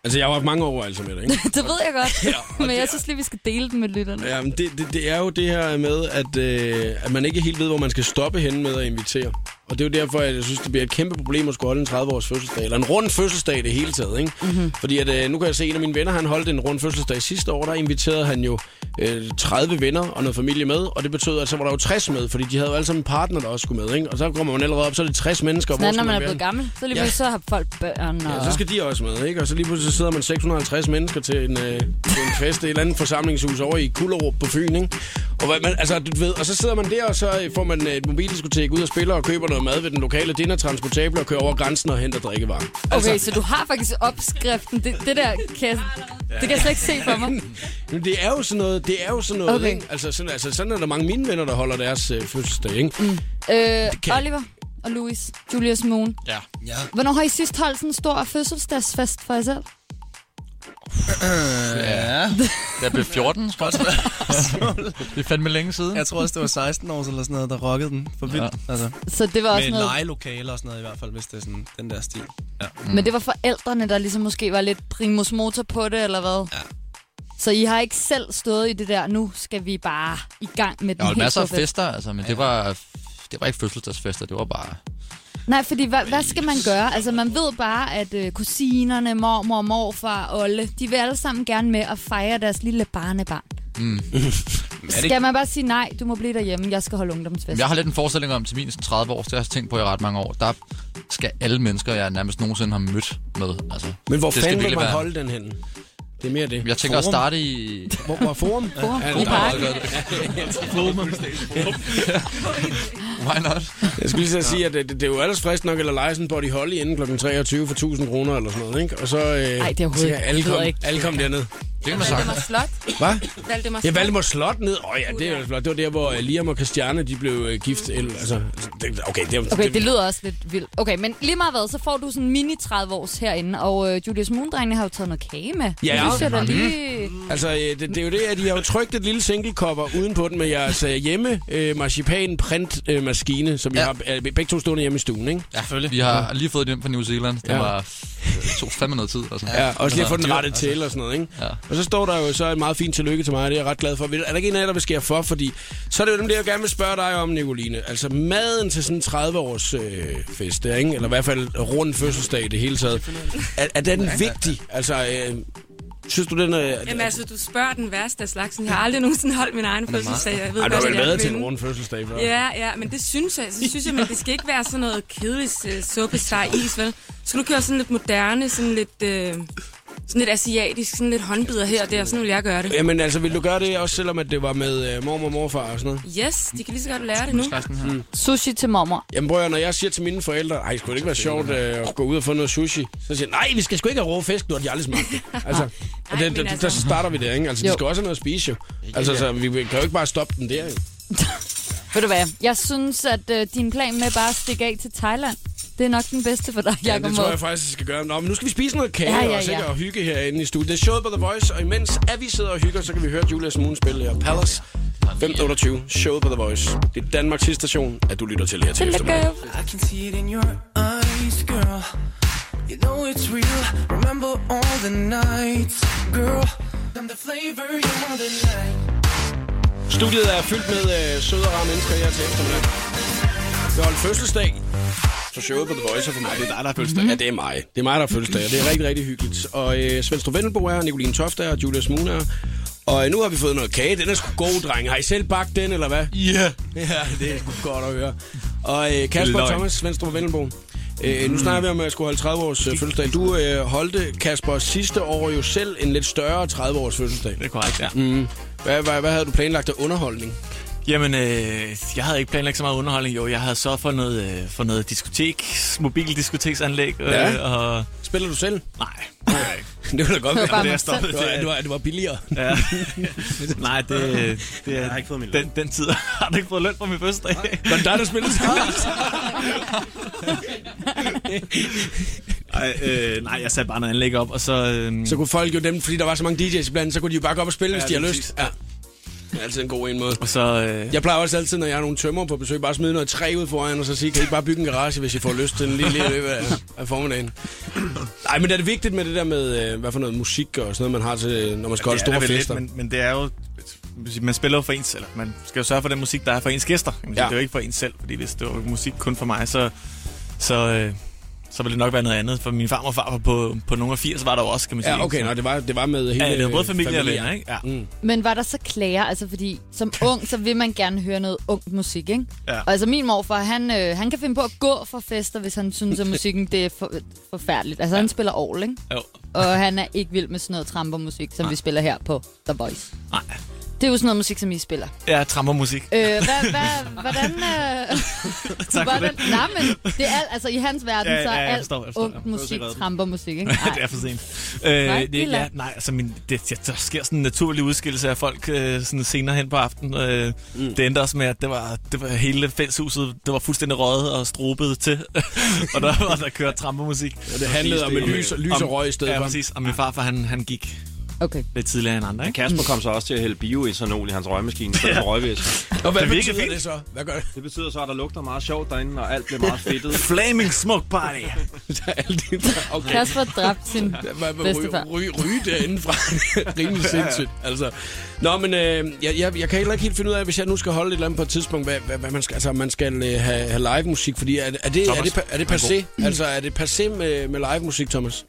Speaker 2: Altså, jeg har jo haft mange overvejelser med det, ikke?
Speaker 3: det ved jeg godt,
Speaker 2: ja,
Speaker 3: men jeg synes lige, vi skal dele den med lytterne.
Speaker 2: Ja, men det, det, det er jo det her med, at, øh, at man ikke helt ved, hvor man skal stoppe henne med at invitere. Og det er jo derfor, at jeg synes, det bliver et kæmpe problem at skulle holde en 30-års fødselsdag, eller en rund fødselsdag i det hele taget. Ikke?
Speaker 3: Mhm.
Speaker 2: Mm-hmm. Fordi at, øh, nu kan jeg se, at en af mine venner, han holdt en rund fødselsdag sidste år, der inviterede han jo øh, 30 venner og noget familie med, og det betød, at så var der jo 60 med, fordi de havde jo alle sammen en partner, der også skulle med. Ikke? Og så kommer man allerede op, så er det 60 mennesker.
Speaker 3: Sådan,
Speaker 2: skal
Speaker 3: når man er
Speaker 2: være
Speaker 3: blevet
Speaker 2: henne?
Speaker 3: gammel, så lige
Speaker 2: Ja.
Speaker 3: pludselig så har folk børn. Og...
Speaker 2: Ja, så skal de også med, ikke? Og så lige pludselig så sidder man 650 mennesker til en, øh, til en fest i et eller andet forsamlingshus over i Kullerup på Fyn, ikke? Og, hvad man, altså, du ved, og så sidder man der, og så øh, får man øh, et mobildiskotek ud og spiller og køber noget mad ved den lokale dinnertransportable og kører over grænsen og henter drikkevarer.
Speaker 3: Okay,
Speaker 2: altså-
Speaker 3: så du har faktisk opskriften. Det, det der kan jeg, det kan jeg slet ikke se for mig. Øh,
Speaker 2: Men det er jo sådan noget, det er jo sådan noget,
Speaker 3: Okay.
Speaker 2: okay. ikke? Altså sådan, altså sådan er der mange af mine venner, der holder deres øh, fødselsdag, ikke? Mm.
Speaker 3: Øh, Oliver og Louis, Julius Moon.
Speaker 2: Ja. ja.
Speaker 3: Hvornår har I sidst holdt sådan en stor fødselsdagsfest for jer selv?
Speaker 11: Ja.
Speaker 12: Jeg blev 14, spørgsmål. det er fandme længe siden.
Speaker 11: Jeg tror også, det var 16 år eller sådan noget, der rockede den for vildt.
Speaker 12: Ja.
Speaker 11: Altså.
Speaker 3: Så det var også
Speaker 11: Med
Speaker 3: noget-
Speaker 11: legelokaler og sådan noget i hvert fald, hvis det er sådan den der stil. Ja.
Speaker 3: Mm. Men det var forældrene, der ligesom måske var lidt primus motor på det, eller hvad? Ja. Så I har ikke selv stået i det der, nu skal vi bare i gang med den
Speaker 12: Jeg holdt
Speaker 3: helt
Speaker 12: masser af
Speaker 3: store fest.
Speaker 12: fester, altså, men det var, det var ikke fødselsdagsfester, det var bare...
Speaker 3: Nej, fordi hvad, hvad skal man gøre? Altså, man ved bare, at øh, kusinerne, mormor, morfar, Olle, de vil alle sammen gerne med at fejre deres lille barnebarn.
Speaker 12: Mm.
Speaker 3: Skal man bare sige, nej, du må blive derhjemme, jeg skal holde ungdomsfest?
Speaker 10: Altså-
Speaker 12: Jeg har lidt en forestilling om, til min 30 år, det har jeg tænkt på i ret mange år, der skal alle mennesker, jeg nærmest nogensinde har mødt med. Altså,
Speaker 2: Men hvor
Speaker 12: det skal
Speaker 2: fanden vil
Speaker 12: virkelig
Speaker 2: man
Speaker 12: være-
Speaker 2: holde den henne? Det er mere det.
Speaker 12: Jeg tænker at starte i...
Speaker 2: Hvor, hvor forum?
Speaker 12: Forum.
Speaker 2: Ja,
Speaker 12: I
Speaker 2: det er meget
Speaker 12: parken.
Speaker 2: godt.
Speaker 12: Forum. Why not?
Speaker 2: Jeg skulle lige så sige, at det, det, det er jo ellers frisk nok eller lege sådan en body holly inden kl. 23 for 1000 kroner eller sådan noget, ikke? Og så øh, Ej,
Speaker 3: det er overhovedet ikke.
Speaker 2: alle
Speaker 3: Det ved
Speaker 2: kom,
Speaker 3: jeg ikke.
Speaker 2: alle kom derned. Det kan man
Speaker 10: Valdemar Slot.
Speaker 2: Hvad?
Speaker 10: Valdemar
Speaker 2: Ja,
Speaker 10: Slot.
Speaker 2: Valdemar Slot ned. Åh oh, ja, det er jo flot. Det var der, hvor øh, Liam og Christiane, de blev øh, gift. Eller, altså, det, okay, det, er-
Speaker 3: Okay, det lyder også lidt vildt. Okay, men lige meget hvad, så får du sådan en mini 30 års herinde, og øh, Julius Moondrengene har jo taget noget kage med.
Speaker 2: Ja,
Speaker 3: Det
Speaker 2: ja.
Speaker 3: synes jeg da
Speaker 2: Mhm.
Speaker 3: lige...
Speaker 2: Altså, øh, det, det er jo det, at I har jo trykt et lille single-cover uden på den med jeres øh, hjemme øh, marcipan print øh, maskine, som ja. I har øh, begge to stående hjemme i stuen, ikke?
Speaker 12: Ja, selvfølgelig. Vi har lige fået den hjem fra New Zealand. Det
Speaker 2: Ja.
Speaker 12: ja. var det tog fandme noget tid. Altså.
Speaker 2: Ja, og også lige at få den
Speaker 12: Dyrt,
Speaker 2: rettet
Speaker 12: altså.
Speaker 2: til og sådan noget, ikke?
Speaker 12: Ja.
Speaker 2: Og så står der jo så et meget fint tillykke til mig, og det er jeg ret glad for. Ved du, Er der ikke en af jer, der vil skære for? Fordi så er det jo dem, der jeg gerne vil spørge dig om, Nicoline. Altså maden til sådan en 30-års øh, fest der, ikke? Eller i hvert fald rund fødselsdag i det hele taget. Er, er den vigtig? Altså, øh, synes du, den er...
Speaker 10: Jamen altså, du spørger den værste af slagsen. Jeg har aldrig nogensinde holdt min egen fødselsdag. Jeg ved
Speaker 2: Ej, du har
Speaker 10: godt,
Speaker 2: vel
Speaker 10: at jeg er
Speaker 2: været til en
Speaker 10: kvinde.
Speaker 2: rund fødselsdag før?
Speaker 10: Ja, ja, men det synes jeg. Så synes jeg, men det skal ikke være sådan noget kedeligt uh, suppesteg is, vel? Så kan du køre sådan lidt moderne, sådan lidt, øh, sådan lidt asiatisk, sådan lidt håndbider her og der. Sådan vil jeg gøre det.
Speaker 2: Jamen altså, vil du gøre det også, selvom at det var med øh, mormor og morfar og sådan noget?
Speaker 10: Yes, de kan lige så godt lære det nu.
Speaker 2: Mm.
Speaker 3: Sushi til mormor.
Speaker 2: Jamen prøv at høre, når jeg siger til mine forældre, ej, skulle det ikke være sjovt øh, at gå ud og få noget sushi? Så siger jeg, nej, vi skal sgu ikke have rå fisk, nu har de aldrig smagt det. Altså, og det, det, det, der, så starter vi der, ikke? Altså, de
Speaker 3: Jo.
Speaker 2: skal også have noget at spise, jo. Altså, så vi kan jo ikke bare stoppe den der, jo.
Speaker 3: Ved du hvad, jeg synes, at øh, din plan med bare at stikke af til Thailand, det er nok den bedste for dig,
Speaker 2: Ja,
Speaker 3: Jacob
Speaker 2: det tror jeg faktisk, jeg skal gøre. Nå, men nu skal vi spise noget kage
Speaker 3: Ja,
Speaker 2: ja,
Speaker 3: ja,
Speaker 2: ja, ja. og
Speaker 3: ja.
Speaker 2: sikkert og hygge herinde i studiet. Det er showet på The Voice, og imens at vi sidder og hygger, så kan vi høre Julius Moon spille her. Palace 1528, showet på The Voice. Det er Danmarks station, at du lytter til her til eftermiddag.
Speaker 13: I can see it in your eyes, girl. You know it's real. Remember all the nights, girl. I'm the flavor you want tonight.
Speaker 2: Studiet er fyldt med øh, søde og rare mennesker her til eftermiddag. Vi har holdt fødselsdag for showet på The Voice og for mig. det er dig, der har fødselsdag. Ja, det er mig. Det er mig, der har fødselsdag, og det er rigtig, rigtig hyggeligt. Og øh, Svendstrup Vendelbo er her, Nicoline Toft er her, og Julius Moon er her. Og øh, nu har vi fået noget kage. Den er sgu god, dreng. Har I selv bagt den, eller hvad? Ja. Yeah. Ja, det er sgu godt at høre. Og øh, Kasper
Speaker 9: Løgn.
Speaker 2: og Thomas, Svendstrup Vendelbo. Øh, nu snakker vi om, at jeg skulle holde 30 års øh, fødselsdag. Du øh, holdte, Kasper, sidste år jo selv en lidt større 30 års fødselsdag. Det er korrekt, ja. Mm. Hvad, hvad, hvad havde du planlagt af underholdning?
Speaker 9: Jamen, øh, jeg havde ikke planlagt så meget underholdning. Jo, jeg havde så for noget, øh, for noget diskotek, mobildiskoteksanlæg. Øh,
Speaker 2: Ja.
Speaker 9: og...
Speaker 2: Spiller du selv?
Speaker 9: Nej.
Speaker 2: Det var da godt
Speaker 9: Det var bare
Speaker 2: være.
Speaker 9: mig selv.
Speaker 2: Det var, det var, det var billigere.
Speaker 9: Ja. Nej, det, det er,
Speaker 2: Jeg har ikke fået min
Speaker 9: den, den tid har du ikke fået løn for min fødselsdag.
Speaker 2: Var det dig, der spillede til
Speaker 9: Ej, øh, nej, jeg satte bare noget anlæg op, og så... Øh,
Speaker 2: Så kunne folk jo dem, fordi der var så mange DJ's iblandt, så kunne de jo bare gå op og spille,
Speaker 9: Ja,
Speaker 2: hvis de har
Speaker 9: lige
Speaker 2: lyst. Ja. Det er altid en god en måde.
Speaker 9: Og så... Øh,
Speaker 2: Jeg plejer også altid, når jeg har nogle tømmer på besøg, bare at smide noget træ ud foran, og så sige, kan I ikke bare bygge en garage, hvis I får lyst til en lille løb af, af formiddagen. Nej, men er det vigtigt med det der med, øh, hvad for noget musik og sådan noget, man har til, når man skal holde
Speaker 9: det er
Speaker 2: store
Speaker 9: vel
Speaker 2: fester?
Speaker 9: Lidt, men, men det er jo... Man spiller jo for ens... Eller man skal jo sørge for den musik, der er for ens gæster. Kan man sige.
Speaker 2: Ja.
Speaker 9: Det er jo ikke for ens selv, fordi hvis det var musik kun for mig, så... så øh, så ville det nok være noget andet, for min farmor og far var på, på nogle af 80, var der jo også, kan man sige.
Speaker 2: Ja, okay,
Speaker 9: Så-
Speaker 2: nej, det var, det var med hele
Speaker 9: Ja, det var både familie og
Speaker 2: familien.
Speaker 9: venner, ikke? Ja.
Speaker 2: Mm.
Speaker 3: Men var der så klager? Altså, fordi som ung, så vil man gerne høre noget ung musik, ikke?
Speaker 9: Ja.
Speaker 3: Og altså, min morfar, han, øh, han kan finde på at gå for fester, hvis han synes, at musikken det er for, forfærdeligt. Altså, ja. han spiller orgel, ikke?
Speaker 9: Jo.
Speaker 3: Og han er ikke vild med sådan noget trampermusik, som vi spiller her på The Voice.
Speaker 9: Nej.
Speaker 3: Det er jo sådan noget musik, som I spiller.
Speaker 9: Ja, trampermusik.
Speaker 3: Øh, hvad, hvad, hvordan... Øh,
Speaker 9: for
Speaker 3: hvordan
Speaker 9: det.
Speaker 3: Nej, men det er alt, altså i hans verden,
Speaker 9: Ja, ja,
Speaker 3: så er
Speaker 9: jeg
Speaker 3: alt
Speaker 9: forstår, jeg forstår. Jeg
Speaker 3: ung
Speaker 9: prøver at se,
Speaker 3: musik,
Speaker 9: hvad det er.
Speaker 3: trampermusik, ikke?
Speaker 9: Nej. det er for sent. Øh,
Speaker 3: Nej,
Speaker 9: nej,
Speaker 3: det er
Speaker 9: det, ja,
Speaker 3: langt.
Speaker 9: nej, altså, min, det, ja, der sker sådan en naturlig udskillelse af folk øh, sådan senere hen på aftenen. Øh, mm. Det endte også med, at det var, det var hele fælleshuset, det var fuldstændig røget og strobet til. og der var der kørt trampemusik.
Speaker 2: Ja, det handlede om et lys- lys og røg i stedet
Speaker 9: Ja,
Speaker 2: for.
Speaker 9: præcis. Og min farfar, han, han gik
Speaker 3: Okay.
Speaker 9: lidt tidligere end andre. Ikke?
Speaker 14: Kasper kom så også til at hælde bioethanol i hans røgmaskine, så den røgvæske.
Speaker 2: Og hvad
Speaker 14: Det virker
Speaker 2: betyder
Speaker 14: fint.
Speaker 2: det så? Hvad gør det?
Speaker 14: Det betyder så, at der lugter meget sjovt derinde, og alt bliver meget fedtet.
Speaker 9: Flaming smoke party!
Speaker 2: Okay.
Speaker 3: Kasper dræbte sin bedstefar.
Speaker 2: Ryge ry, derinde fra. Rimelig sindssygt. Altså. Nå, men øh, jeg, jeg, jeg kan heller ikke helt finde ud af, hvis jeg nu skal holde et eller andet på et tidspunkt, hvad, hvad, hvad man skal, altså, man skal øh, have, have live musik, fordi er, er, det, er,
Speaker 14: Thomas,
Speaker 2: det, pa- er det
Speaker 14: han er
Speaker 2: passé? Altså, er det passé med, med live musik, Thomas?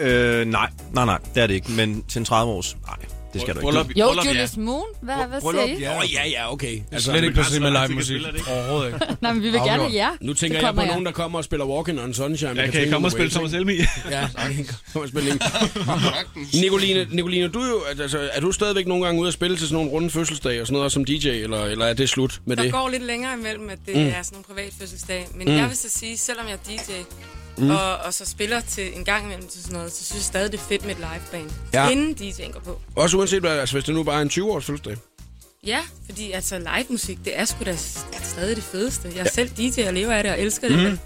Speaker 14: øh, nej, nej, nej, det er det ikke. Men til en 30 års, nej. Det skal du ikke.
Speaker 2: Bryllup-
Speaker 3: Jo,
Speaker 2: bryllup, ja.
Speaker 3: Julius Moon. Hvad, hvad siger
Speaker 2: Bryllup,
Speaker 3: I?
Speaker 2: ja. Åh, ja, ja, okay. Altså, Det
Speaker 11: er slet ikke på scenen med live musik.
Speaker 2: Overhovedet ikke.
Speaker 3: Nej, men vi vil gerne have jer.
Speaker 2: Nu
Speaker 3: Det
Speaker 2: tænker jeg på
Speaker 3: kommer
Speaker 2: nogen, der kommer og spiller Walking on Sunshine. med
Speaker 9: kan I
Speaker 2: Katrine
Speaker 9: komme
Speaker 2: Wales,
Speaker 9: og spille
Speaker 2: ikke?
Speaker 9: Thomas Helmig?
Speaker 2: Ja, kom og spille en. Nicoline, Nicoline, du er, jo, altså, er du stadigvæk nogle gange ude at spille til sådan nogle runde fødselsdage og sådan noget også som DJ, eller, eller er det slut med
Speaker 10: der
Speaker 2: det?
Speaker 10: går lidt længere imellem, at det
Speaker 2: Mm.
Speaker 10: mm. er sådan nogle private fødselsdage. Men
Speaker 2: Mm.
Speaker 10: mm. jeg vil så sige, selvom jeg er DJ,
Speaker 2: Mm.
Speaker 10: mm. og, og så spiller til en gang imellem til sådan noget, så synes jeg stadig, det er fedt med et liveband.
Speaker 2: Ja.
Speaker 10: Ja. Inden DJ'en går på.
Speaker 2: Også uanset hvad, altså hvis det nu bare er en 20-års fødselsdag.
Speaker 10: Ja, fordi altså live musik, det er sgu da s- stadig det fedeste. Jeg er selv DJ og lever af det og elsker det.
Speaker 2: Mhm.
Speaker 10: men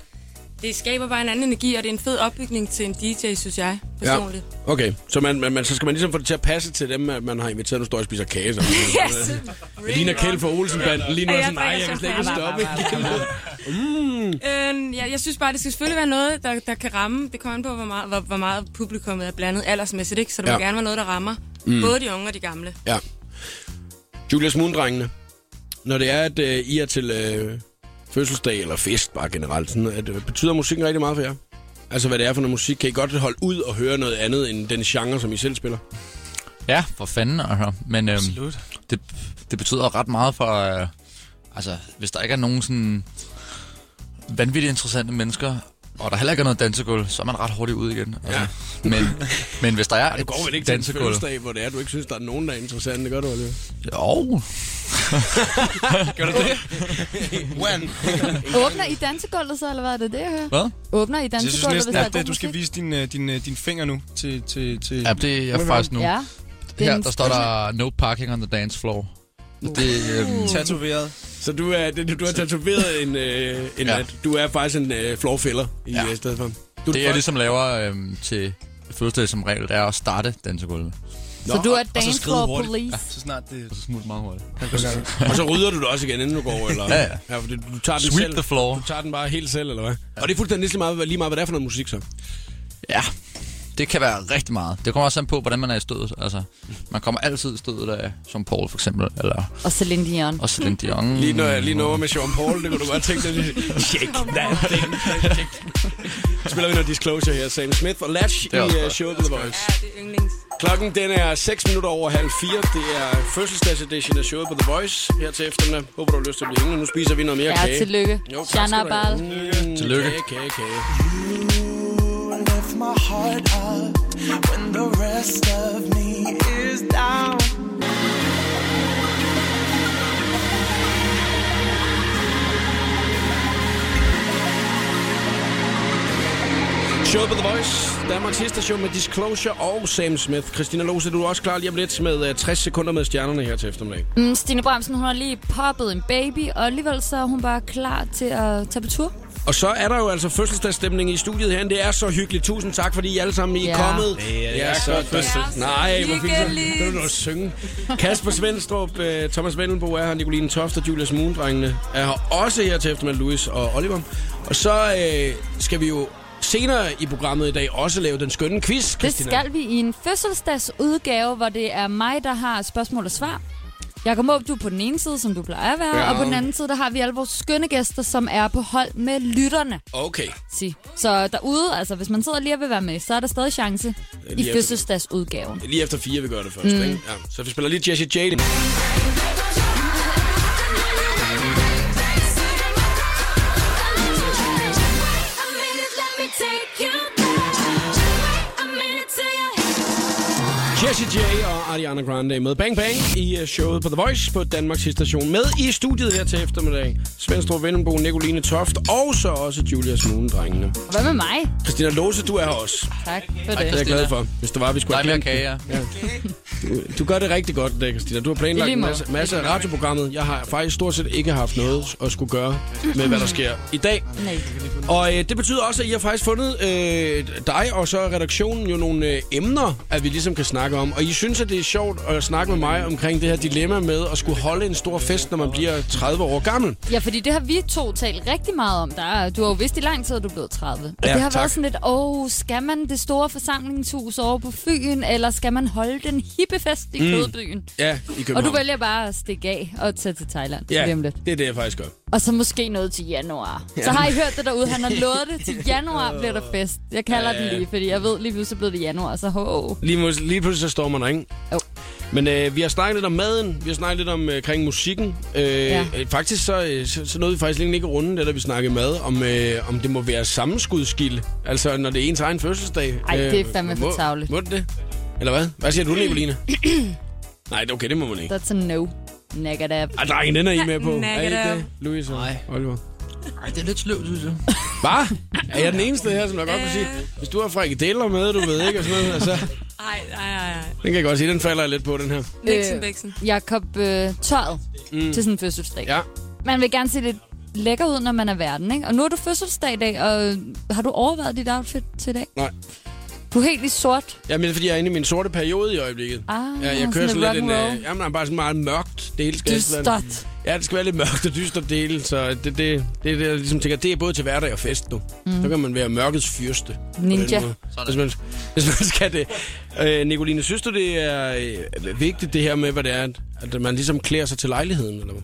Speaker 10: Det skaber bare en anden energi, og det er en fed opbygning til en DJ, synes jeg personligt.
Speaker 2: Ja. Okay, så, man, man, man, så skal man ligesom få det til at passe til dem, at man har inviteret, nu står jeg og spiser kage. Sammen.
Speaker 10: Ja.
Speaker 2: Jeg ligner Kjeld fra Olsenbanden lige nu.
Speaker 10: Ja,
Speaker 2: Ja, sådan,
Speaker 10: jeg
Speaker 2: nej,
Speaker 10: drikker
Speaker 2: jeg kan slet ikke
Speaker 10: champagne.
Speaker 2: stoppe. mm.
Speaker 10: Øh, ja, jeg synes bare, det skal selvfølgelig være noget, der, der kan ramme. Det kommer an på, hvor meget, hvor, hvor meget publikummet er blandet aldersmæssigt, ikke? Så det ja.
Speaker 2: Ja.
Speaker 10: må gerne være noget, der rammer
Speaker 2: Mm.
Speaker 10: mm. både de unge og de gamle.
Speaker 2: Ja. Julius Mundrengene, når det er, at øh, I er til øh, fødselsdag eller fest bare generelt, sådan, at, øh, betyder musikken rigtig meget for jer? Altså, hvad det er for noget musik? Kan I godt holde ud og høre noget andet end den genre, som I selv spiller?
Speaker 12: Ja, for fanden. Altså. Men øhm, det, det betyder ret meget for... Øh, altså, hvis der ikke er nogen sådan vanvittigt interessante mennesker, og der heller ikke er noget dansegulv, så er man ret hurtigt ud igen. Altså.
Speaker 2: Ja.
Speaker 12: Men, men hvis der er
Speaker 2: Ej, du går vel ikke
Speaker 12: et
Speaker 2: til en
Speaker 12: dansegulv...
Speaker 2: fødselsdag, hvor det er, du ikke synes, der er nogen, der er interessant. Det gør du, Oliver.
Speaker 12: Jo.
Speaker 2: gør du det?
Speaker 11: When?
Speaker 3: Åbner I dansegulvet så, eller hvad er det, det jeg hører?
Speaker 12: Hvad?
Speaker 3: Åbner I
Speaker 11: Jeg synes
Speaker 3: dansegulvet, hvis
Speaker 11: næsten,
Speaker 3: der er
Speaker 11: at
Speaker 3: god
Speaker 11: øh, du skal
Speaker 3: musik?
Speaker 11: vise din, øh, din, øh, din finger nu til... til, til
Speaker 12: Ja, det er jeg faktisk nu.
Speaker 3: Ja. Det er
Speaker 12: Her,
Speaker 3: en-
Speaker 12: der står der no parking on the dance floor. Det, øhm,
Speaker 11: Tatoveret.
Speaker 2: Så du, er, det- du har tatoveret en, øh, en
Speaker 12: Ja.
Speaker 2: ja. Du er faktisk en øh, floorfiller i ja. stedet for. Du
Speaker 12: Du det, jeg ligesom laver øhm, til fødselsdag som regel, det er at starte dansegulvet.
Speaker 3: Så du er
Speaker 11: og så
Speaker 3: dance
Speaker 11: skride
Speaker 3: floor
Speaker 11: hurtigt.
Speaker 3: police.
Speaker 11: Så snart det...
Speaker 12: Og så smutter meget hurtigt.
Speaker 2: og så rydder du det også igen, inden du går, eller?
Speaker 12: Ja, ja.
Speaker 2: ja fordi du tager den
Speaker 12: Sweep
Speaker 2: selv.
Speaker 12: the floor.
Speaker 2: Du tager den bare helt selv, eller hvad? Og det er fuldstændig lige meget, lige meget, hvad det er for noget musik, så.
Speaker 12: Ja, det kan være rigtig meget. Det kommer også an på, hvordan man er i stødet. Altså, man kommer altid i stødet af som Paul for eksempel, eller
Speaker 3: Og Celine Dion.
Speaker 12: og Celine Dion.
Speaker 2: Lige når jeg lige når med Sean Paul, det kunne du godt tænke dig. Shake that thing. Så Spiller vi noget Disclosure her, Sam Smith og Latch i
Speaker 12: er også
Speaker 2: uh,
Speaker 12: godt.
Speaker 2: Show to the Voice.
Speaker 10: Det er yndlings.
Speaker 2: Klokken den er 6 minutter over halv 4. Det er fødselsdagsedition af showet på The Voice her til eftermiddag. Håber, du har lyst til at blive hængende. Nu spiser vi noget mere
Speaker 3: Ja,
Speaker 2: kage.
Speaker 3: tillykke.
Speaker 2: Jo, tak skal
Speaker 3: Shana
Speaker 2: du
Speaker 3: Bal.
Speaker 2: have. Mm,
Speaker 12: Tillykke.
Speaker 2: Kage, kage, kage.
Speaker 13: left my heart up when the rest of me is down.
Speaker 2: Showet på The Voice. Danmarks sidste show med Disclosure og Sam Smith. Christina Lose, du er også klar lige om lidt med øh, 60 sekunder med stjernerne her til eftermiddag.
Speaker 3: Mm, Stine Bramsen, hun har lige poppet en baby, og alligevel så er hun bare klar til at tage på tur.
Speaker 2: Og så er der jo altså fødselsdagsstemning i studiet herinde. Det er så hyggeligt. Tusind tak, fordi I alle sammen I er
Speaker 3: Ja.
Speaker 2: kommet.
Speaker 9: Det er så
Speaker 2: godt.
Speaker 9: fødsel.
Speaker 2: Nej, hvor fint.
Speaker 9: Hyggeligt.
Speaker 2: Kan du nå at synge? Kasper Svendstrup, øh, Thomas Vendelbo er her, Nicoline Toft og Julius Moondrengene er her også her til eftermiddag, Louis og Oliver. Og så øh, skal vi jo senere i programmet i dag også lave den skønne quiz,
Speaker 3: Det
Speaker 2: Christina.
Speaker 3: skal vi i en fødselsdagsudgave, hvor det er mig, der har spørgsmål og svar. Jakob Måb, du er på den ene side, som du plejer at være,
Speaker 2: Ja.
Speaker 3: ja. og på den anden side, der har vi alle vores skønne gæster, som er på hold med lytterne.
Speaker 2: Okay.
Speaker 3: Sig. Så derude, altså hvis man sidder lige og vil være med, så er der stadig chance i
Speaker 2: efter-
Speaker 3: fødselsdagsudgaven.
Speaker 2: Lige efter fire, vi gør det først,
Speaker 3: Mm.
Speaker 2: mm. ikke? Ja. Så vi spiller lige Jesse J. Jesse J. og Ariana Grande med Bang Bang i øh, showet på The Voice på Danmarks station med i studiet her til eftermiddag. Svendstrup Vennembo, Nicoline Toft og så også Julius Moon-drengene.
Speaker 3: Og hvad med mig?
Speaker 2: Christina Lose, du er her også.
Speaker 3: Tak for
Speaker 2: Det er jeg
Speaker 3: det.
Speaker 2: glad for, hvis det var, vi skulle
Speaker 12: Der er mere
Speaker 2: glemt den. Ja. Du, du gør det rigtig godt, der, Christina. Du har
Speaker 12: I
Speaker 2: planlagt
Speaker 12: lige
Speaker 2: en
Speaker 12: måde.
Speaker 2: masse, masse af radioprogrammet. Jeg har faktisk stort set ikke haft noget at skulle gøre med, hvad der sker i dag.
Speaker 3: Nej.
Speaker 2: Og øh, det betyder også, at I har faktisk fundet øh, dig og så redaktionen jo nogle øh, emner, at vi ligesom kan snakke om. Og I synes, at det er sjovt at snakke med mig omkring det her dilemma med at skulle holde en stor fest, når man bliver 30 år gammel.
Speaker 3: Ja, fordi det har vi to talt rigtig meget om. Der er, du har jo vidst i lang tid, at du er blevet 30. Og
Speaker 2: Ja,
Speaker 3: det har
Speaker 2: tak.
Speaker 3: været sådan lidt, åh, skal man det store forsamlingshus over på Fyn, eller skal man holde den hippe fest i
Speaker 2: Mm.
Speaker 3: Kødbyen?
Speaker 2: Ja, i København.
Speaker 3: Og du vælger bare at stikke af og tage til Thailand.
Speaker 2: ja,
Speaker 3: lige om lidt.
Speaker 2: det er det, jeg faktisk gør.
Speaker 3: Og så måske noget til januar.
Speaker 2: Ja.
Speaker 3: Så har I hørt det derude, han har lovet det. Til januar bliver der fest. Jeg kalder
Speaker 2: Ja.
Speaker 3: den lige, fordi jeg ved lige pludselig, så blev det januar, så ho.
Speaker 2: Lige, mås- lige pludselig så står man der, ikke?
Speaker 3: Jo.
Speaker 2: Men øh, vi har snakket lidt om maden, vi har snakket lidt om øh, kring musikken. Øh,
Speaker 15: Ja.
Speaker 2: ja. Faktisk så, øh, så, så nåede vi faktisk lige ikke at runde det, da vi snakkede mad, om, øh, om det må være sammenskudskilde. Altså, når det er ens egen fødselsdag. Øh,
Speaker 15: Ej, det er fandme for
Speaker 2: må-
Speaker 15: tarveligt.
Speaker 2: Må det det? Eller hvad? Hvad siger du, Nicoline? Nej, okay, det må man ikke.
Speaker 15: That's a no. Negative.
Speaker 2: Ej, drengen, den er I med på. Er I ikke
Speaker 15: Negative.
Speaker 2: det? Louis og Oliver.
Speaker 12: Nej, det er lidt sløvt, synes jeg.
Speaker 2: Hvad? Er jeg den eneste her, som der godt kan sige, hvis du har frikadeller med, du ved ikke, og sådan noget, altså,
Speaker 10: Ej, ej, ej, ej.
Speaker 2: den kan jeg godt sige, den falder jeg lidt på, den her.
Speaker 10: Bæksen, bæksen.
Speaker 3: Jakob øh, Tøjet mm.
Speaker 2: Mm.
Speaker 3: til sådan en fødselsdag.
Speaker 2: Ja.
Speaker 3: Man vil gerne se lidt lækker ud, når man er verden, ikke? Og nu er du fødselsdag i dag, og øh, har du overvejet dit outfit til i dag?
Speaker 2: Nej.
Speaker 3: Du er helt i sort.
Speaker 2: Jamen, det er fordi, jeg er inde i min sorte periode i øjeblikket.
Speaker 3: Ah,
Speaker 2: ja, jeg
Speaker 3: sådan
Speaker 2: kører sådan
Speaker 3: lidt
Speaker 2: lidt en...
Speaker 3: rock'n'roll.
Speaker 2: Øh, jamen, der er bare sådan meget mørkt. Det hele skal
Speaker 3: Dystert.
Speaker 2: sådan- Ja, det skal være lidt mørkt og dystert det hele, så det, det, det, er det, jeg ligesom tænker, det er både til hverdag og fest nu.
Speaker 3: Mm.
Speaker 2: Mm. Så kan man være mørkets fyrste. på den
Speaker 3: Ninja.
Speaker 2: måde, Hvis man, hvis man skal det. Øh, Nicoline, synes du, det er øh, vigtigt det her med, hvad det er, at, at man ligesom klæder sig til lejligheden? Eller hvad?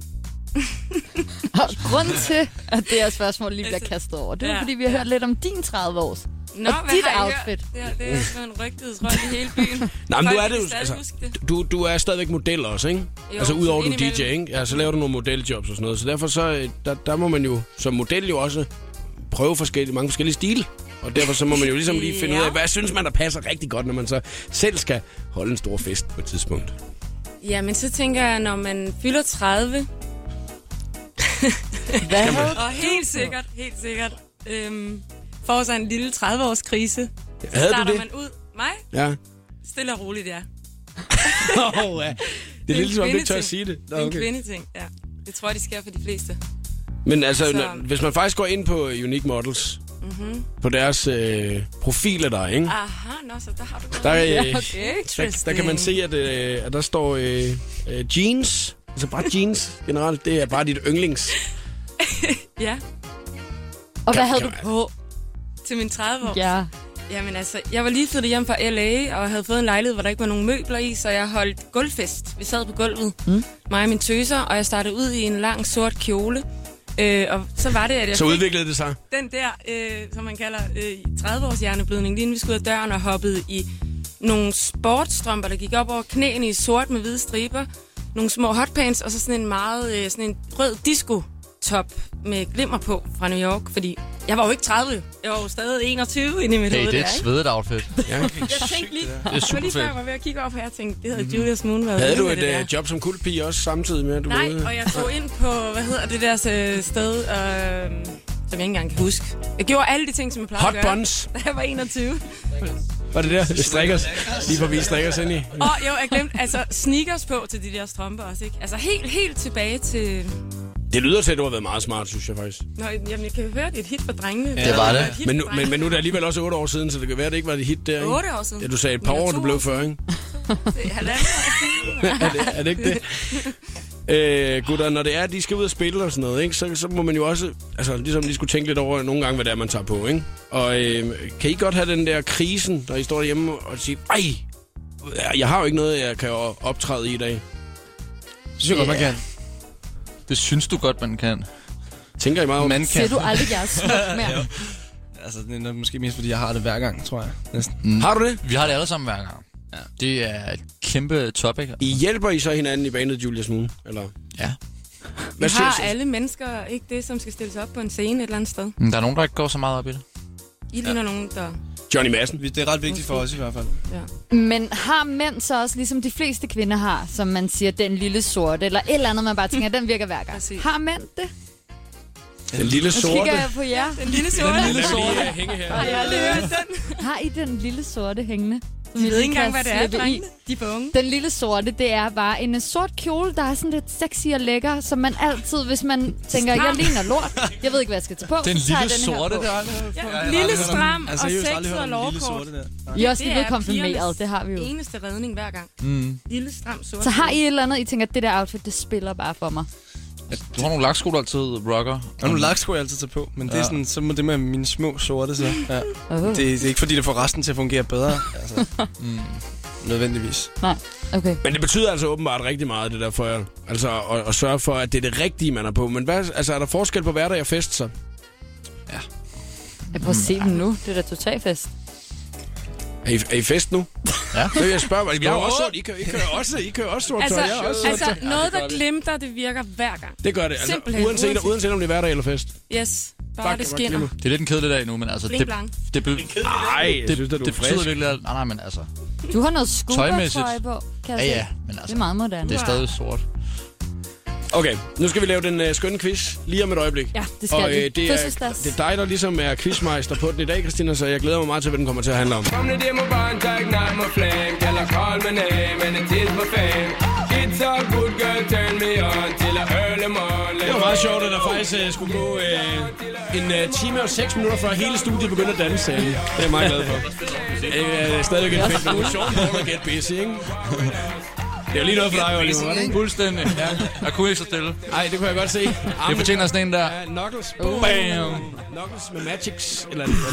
Speaker 15: Og grunden til, at det her spørgsmål lige bliver kastet over, det er jo,
Speaker 10: Altså, ja,
Speaker 15: fordi vi har hørt lidt om din 30-års.
Speaker 10: Nå,
Speaker 15: og
Speaker 10: hvad
Speaker 15: dit
Speaker 10: har I
Speaker 15: outfit.
Speaker 10: Hørt? Det, her, det er sådan en rygtighedsrøg i hele byen.
Speaker 2: Nej, men
Speaker 10: Folk
Speaker 2: du er det
Speaker 10: kan
Speaker 2: jo...
Speaker 10: stadig
Speaker 2: Altså,
Speaker 10: huske det.
Speaker 2: du, du er stadigvæk model også, ikke?
Speaker 10: Jo,
Speaker 2: altså udover du er
Speaker 10: indimellem.
Speaker 2: DJ, ikke? Ja, så laver du nogle modeljobs og sådan noget. Så derfor så, øh, der, der må man jo som model jo også prøve forskellige, mange forskellige stile. Og derfor så må man jo ligesom lige finde
Speaker 10: Ja.
Speaker 2: ud af, hvad synes man, der passer rigtig godt, når man så selv skal holde en stor fest på et tidspunkt.
Speaker 10: Ja, men så tænker jeg, når man fylder 30...
Speaker 15: Hvad
Speaker 2: havde
Speaker 10: Og helt sikkert, helt sikkert, øhm, får sig en lille 30-års krise. Så
Speaker 2: Havde du
Speaker 10: starter
Speaker 2: det?
Speaker 10: man ud. Mig?
Speaker 2: Ja.
Speaker 10: Stille og roligt, ja.
Speaker 2: oh, ja. Det er lidt ligesom, om du ikke tør at sige det.
Speaker 10: Nå, okay. Det er en kvindeting, ja. Det tror jeg, det sker for de fleste.
Speaker 2: Men altså,
Speaker 10: Så-
Speaker 2: når, hvis man faktisk går ind på Unique Models,
Speaker 10: Mhm.
Speaker 2: på deres øh, profiler der, ikke?
Speaker 10: Aha, nå, så der har du
Speaker 2: Der,
Speaker 10: Ja,
Speaker 2: øh,
Speaker 10: okay.
Speaker 2: der, der kan man se, at, øh, at der står øh, øh, jeans. Altså bare jeans generelt. Det er bare dit yndlings.
Speaker 10: Ja.
Speaker 3: Og
Speaker 2: hvad havde du
Speaker 10: på? Til min 30 år?
Speaker 3: Ja.
Speaker 10: Jamen altså, jeg var lige flyttet hjem fra L.A. og havde fået en lejlighed, hvor der ikke var nogen møbler i, så jeg holdt gulvfest. Vi sad på gulvet,
Speaker 3: Mm.
Speaker 10: mig og min tøser, og jeg startede ud i en lang sort kjole. Øh, og så var det, at jeg
Speaker 2: Så
Speaker 10: fik
Speaker 2: udviklede det sig.
Speaker 10: den der, øh, som man kalder øh, 30-års hjerneblødning, lige inden vi skulle ud af døren og hoppede i nogle sportstrømper, der gik op over knæene i sort med hvide striber, nogle små hotpants, og så sådan en meget øh, sådan en rød disco-top med glimmer på fra New York, fordi jeg var jo ikke 30, jeg var jo stadig 21 inde i mit
Speaker 12: Hey,
Speaker 10: hoved
Speaker 12: det er et
Speaker 10: der, ikke?
Speaker 12: svedet outfit.
Speaker 2: Ja.
Speaker 10: Jeg tænkte lige,
Speaker 12: Det er
Speaker 10: det var
Speaker 12: super
Speaker 10: lige før
Speaker 12: fedt.
Speaker 10: jeg var ved at kigge op, og jeg tænkte, det havde Julius Moon været
Speaker 2: Havde
Speaker 10: ude
Speaker 2: du
Speaker 10: med
Speaker 2: et
Speaker 10: det der.
Speaker 2: øh, job som kuldpige også samtidig med, at du var
Speaker 10: Nej,
Speaker 2: ude?
Speaker 10: og jeg tog ind på, hvad hedder det der øh, sted, øh, som jeg ikke engang kan huske. Jeg gjorde alle de ting, som jeg plejede
Speaker 2: Hot
Speaker 10: at gøre.
Speaker 2: buns.
Speaker 10: Da jeg var 21.
Speaker 2: Var det der? Strikkers. Lige for vi strikkers ind i.
Speaker 10: Og jo, jeg glemte, altså sneakers på til de der strømper også, ikke? Altså helt, helt tilbage til...
Speaker 2: Det lyder til, at du har været meget smart, synes jeg faktisk.
Speaker 10: Nå, jamen, jeg kan jo høre, det er et hit for drengene. et hit
Speaker 2: Men nu,
Speaker 10: for
Speaker 2: men,
Speaker 10: drengene.
Speaker 2: men nu er det alligevel også 8 år siden, så det kan være, at det ikke var det hit der, ikke?
Speaker 10: Otte år siden.
Speaker 2: Ja, du sagde et par
Speaker 10: Men
Speaker 2: år,
Speaker 10: to
Speaker 2: du
Speaker 10: år
Speaker 2: blev 40, ikke?
Speaker 10: Det er halvandet år siden.
Speaker 2: er, det, er det ikke det? Øh, gutter, når det er, at de skal ud og spille og sådan noget, ikke, så, så må man jo også altså, ligesom lige skulle tænke lidt over nogle gange, hvad det er, man tager på. Ikke? Og øh, kan I godt have den der krisen, når I står derhjemme og siger, ej, jeg har jo ikke noget, jeg kan optræde i i dag. Det synes jeg godt, man kan.
Speaker 12: Det synes du godt, man kan.
Speaker 2: Tænker I meget
Speaker 11: Man kan.
Speaker 15: Ser du aldrig, jeg er smuk mere?
Speaker 11: Jo. Altså, det er nok måske mest, fordi jeg har det hver gang, tror jeg. Næsten.
Speaker 12: Mm.
Speaker 2: Har du det?
Speaker 12: Vi har det alle sammen hver gang. Ja. Det er et kæmpe topic.
Speaker 2: I hjælper I så hinanden i banet, Julius Moon? Eller?
Speaker 12: Ja.
Speaker 10: Men
Speaker 2: Hvad siger
Speaker 10: har
Speaker 2: du?
Speaker 10: alle mennesker ikke det, som skal stilles op på en scene et eller andet sted?
Speaker 12: Men Der er nogen, der ikke går så meget op i det.
Speaker 10: I ligner nogen, der...
Speaker 2: Johnny Madsen.
Speaker 11: Det er ret vigtigt for os i hvert fald.
Speaker 10: Ja.
Speaker 15: Men har mænd så også, ligesom de fleste kvinder har, som man siger, den lille sorte, eller et eller andet, man bare tænker, den virker hver gang. Har mænd det?
Speaker 2: Den lille
Speaker 15: Nu
Speaker 2: sorte.
Speaker 15: kigger jeg på jer. Den
Speaker 10: lille sorte.
Speaker 2: Den lille sorte. Hænge her.
Speaker 15: Har,
Speaker 10: Ja,
Speaker 15: I
Speaker 10: det
Speaker 15: den? har I den lille sorte hængende?
Speaker 10: De ved ikke engang, hvad det er, drengene.
Speaker 15: De er unge. Den lille sorte, det er bare en øh, sort kjole, der er sådan lidt sexy og lækker, som man altid, hvis man tænker, jeg ligner lort, jeg ved ikke, hvad jeg skal tage på,
Speaker 12: Den
Speaker 15: så tager jeg
Speaker 12: lille
Speaker 15: den her
Speaker 12: sorte,
Speaker 15: på.
Speaker 12: det har
Speaker 10: Ja, lille stram altså, og sexet og lovkort.
Speaker 15: I er også lige
Speaker 10: Det
Speaker 15: blevet
Speaker 10: er
Speaker 15: konfirmeret,
Speaker 10: pigernes
Speaker 15: det har vi jo.
Speaker 10: eneste redning hver gang.
Speaker 12: Mm.
Speaker 10: Lille stram sort.
Speaker 15: Så har I et eller andet, I tænker, at det der outfit, det spiller bare for mig.
Speaker 12: Du har nogle laksko, der altid rocker.
Speaker 11: Der er nogle laksko, jeg altid tager på, men ja. det er
Speaker 12: Ja.
Speaker 11: sådan, så må det med mine små sorte, så. Ja.
Speaker 15: Oh.
Speaker 11: Det, det, er ikke fordi, det får resten til at fungere bedre, altså,
Speaker 12: Mm.
Speaker 11: nødvendigvis.
Speaker 15: Nej, okay.
Speaker 2: Men det betyder altså åbenbart rigtig meget, det der for jer. Altså at, at sørge for, at det er det rigtige, man er på. Men hvad, altså, er der forskel på hverdag og fest så?
Speaker 11: Mm.
Speaker 15: Jeg prøver at se den nu. Det er da total fest.
Speaker 2: Er I, er I fest nu?
Speaker 12: Ja.
Speaker 2: Det vil jeg spørge mig. Jeg har
Speaker 10: Åh.
Speaker 2: også sort. I kører, I kører også, I kører også sort
Speaker 10: Altså,
Speaker 2: tøj. Jeg har også sort
Speaker 10: altså
Speaker 2: tøj.
Speaker 10: noget, der glimter, det virker hver gang.
Speaker 2: Det gør det. Altså,
Speaker 10: Simpelthen.
Speaker 2: uanset,
Speaker 10: Uanset-
Speaker 2: uanset om det er hverdag eller fest.
Speaker 10: Yes, bare det skinner.
Speaker 12: Det er lidt en kedelig dag nu, men altså...
Speaker 10: Bling
Speaker 12: det,
Speaker 10: blang.
Speaker 12: det, be-
Speaker 2: Ej, jeg synes, at du
Speaker 12: det
Speaker 2: er
Speaker 12: betyder
Speaker 2: frisk.
Speaker 12: virkelig, at... Nej, nej, men altså...
Speaker 3: Du har noget scuba-tøj
Speaker 12: Tøjmæssigt.
Speaker 3: på, kan jeg
Speaker 12: Ja,
Speaker 3: se.
Speaker 12: ja, men altså,
Speaker 3: Det er meget moderne.
Speaker 12: Det er stadig sort.
Speaker 2: Okay, nu skal vi lave den øh, skønne quiz lige om et øjeblik.
Speaker 3: Ja, det skal
Speaker 2: Og, øh,
Speaker 3: vi.
Speaker 2: det, er,
Speaker 3: Fødselsdags.
Speaker 2: det er dig, der ligesom er quizmeister på den i dag, Christina, så jeg glæder mig meget til, hvad den kommer til at handle om.
Speaker 16: Kom nu, det må bare en tak, nej, må flæm Kalder Carl med name, men er tit på fame Kids og good girl, turn me on Til at øle morgen
Speaker 2: Det var meget sjovt, at der faktisk øh, skulle gå øh, en øh, time og 6 minutter, før hele studiet begyndte at danse. Øh. Det er jeg meget glad for. Øh, stadigvæk en fedt nu. Sean Paul og Get Busy, ikke? Det er jo lige noget for dig, Oliver. var det ikke?
Speaker 12: Fuldstændig, ja. Jeg kunne ikke så stille.
Speaker 2: Nej, det kunne jeg godt se.
Speaker 12: Det fortjener sådan en der.
Speaker 2: Ja, Knuckles.
Speaker 12: Bam.
Speaker 2: Knuckles med Magics. Eller andet, hvad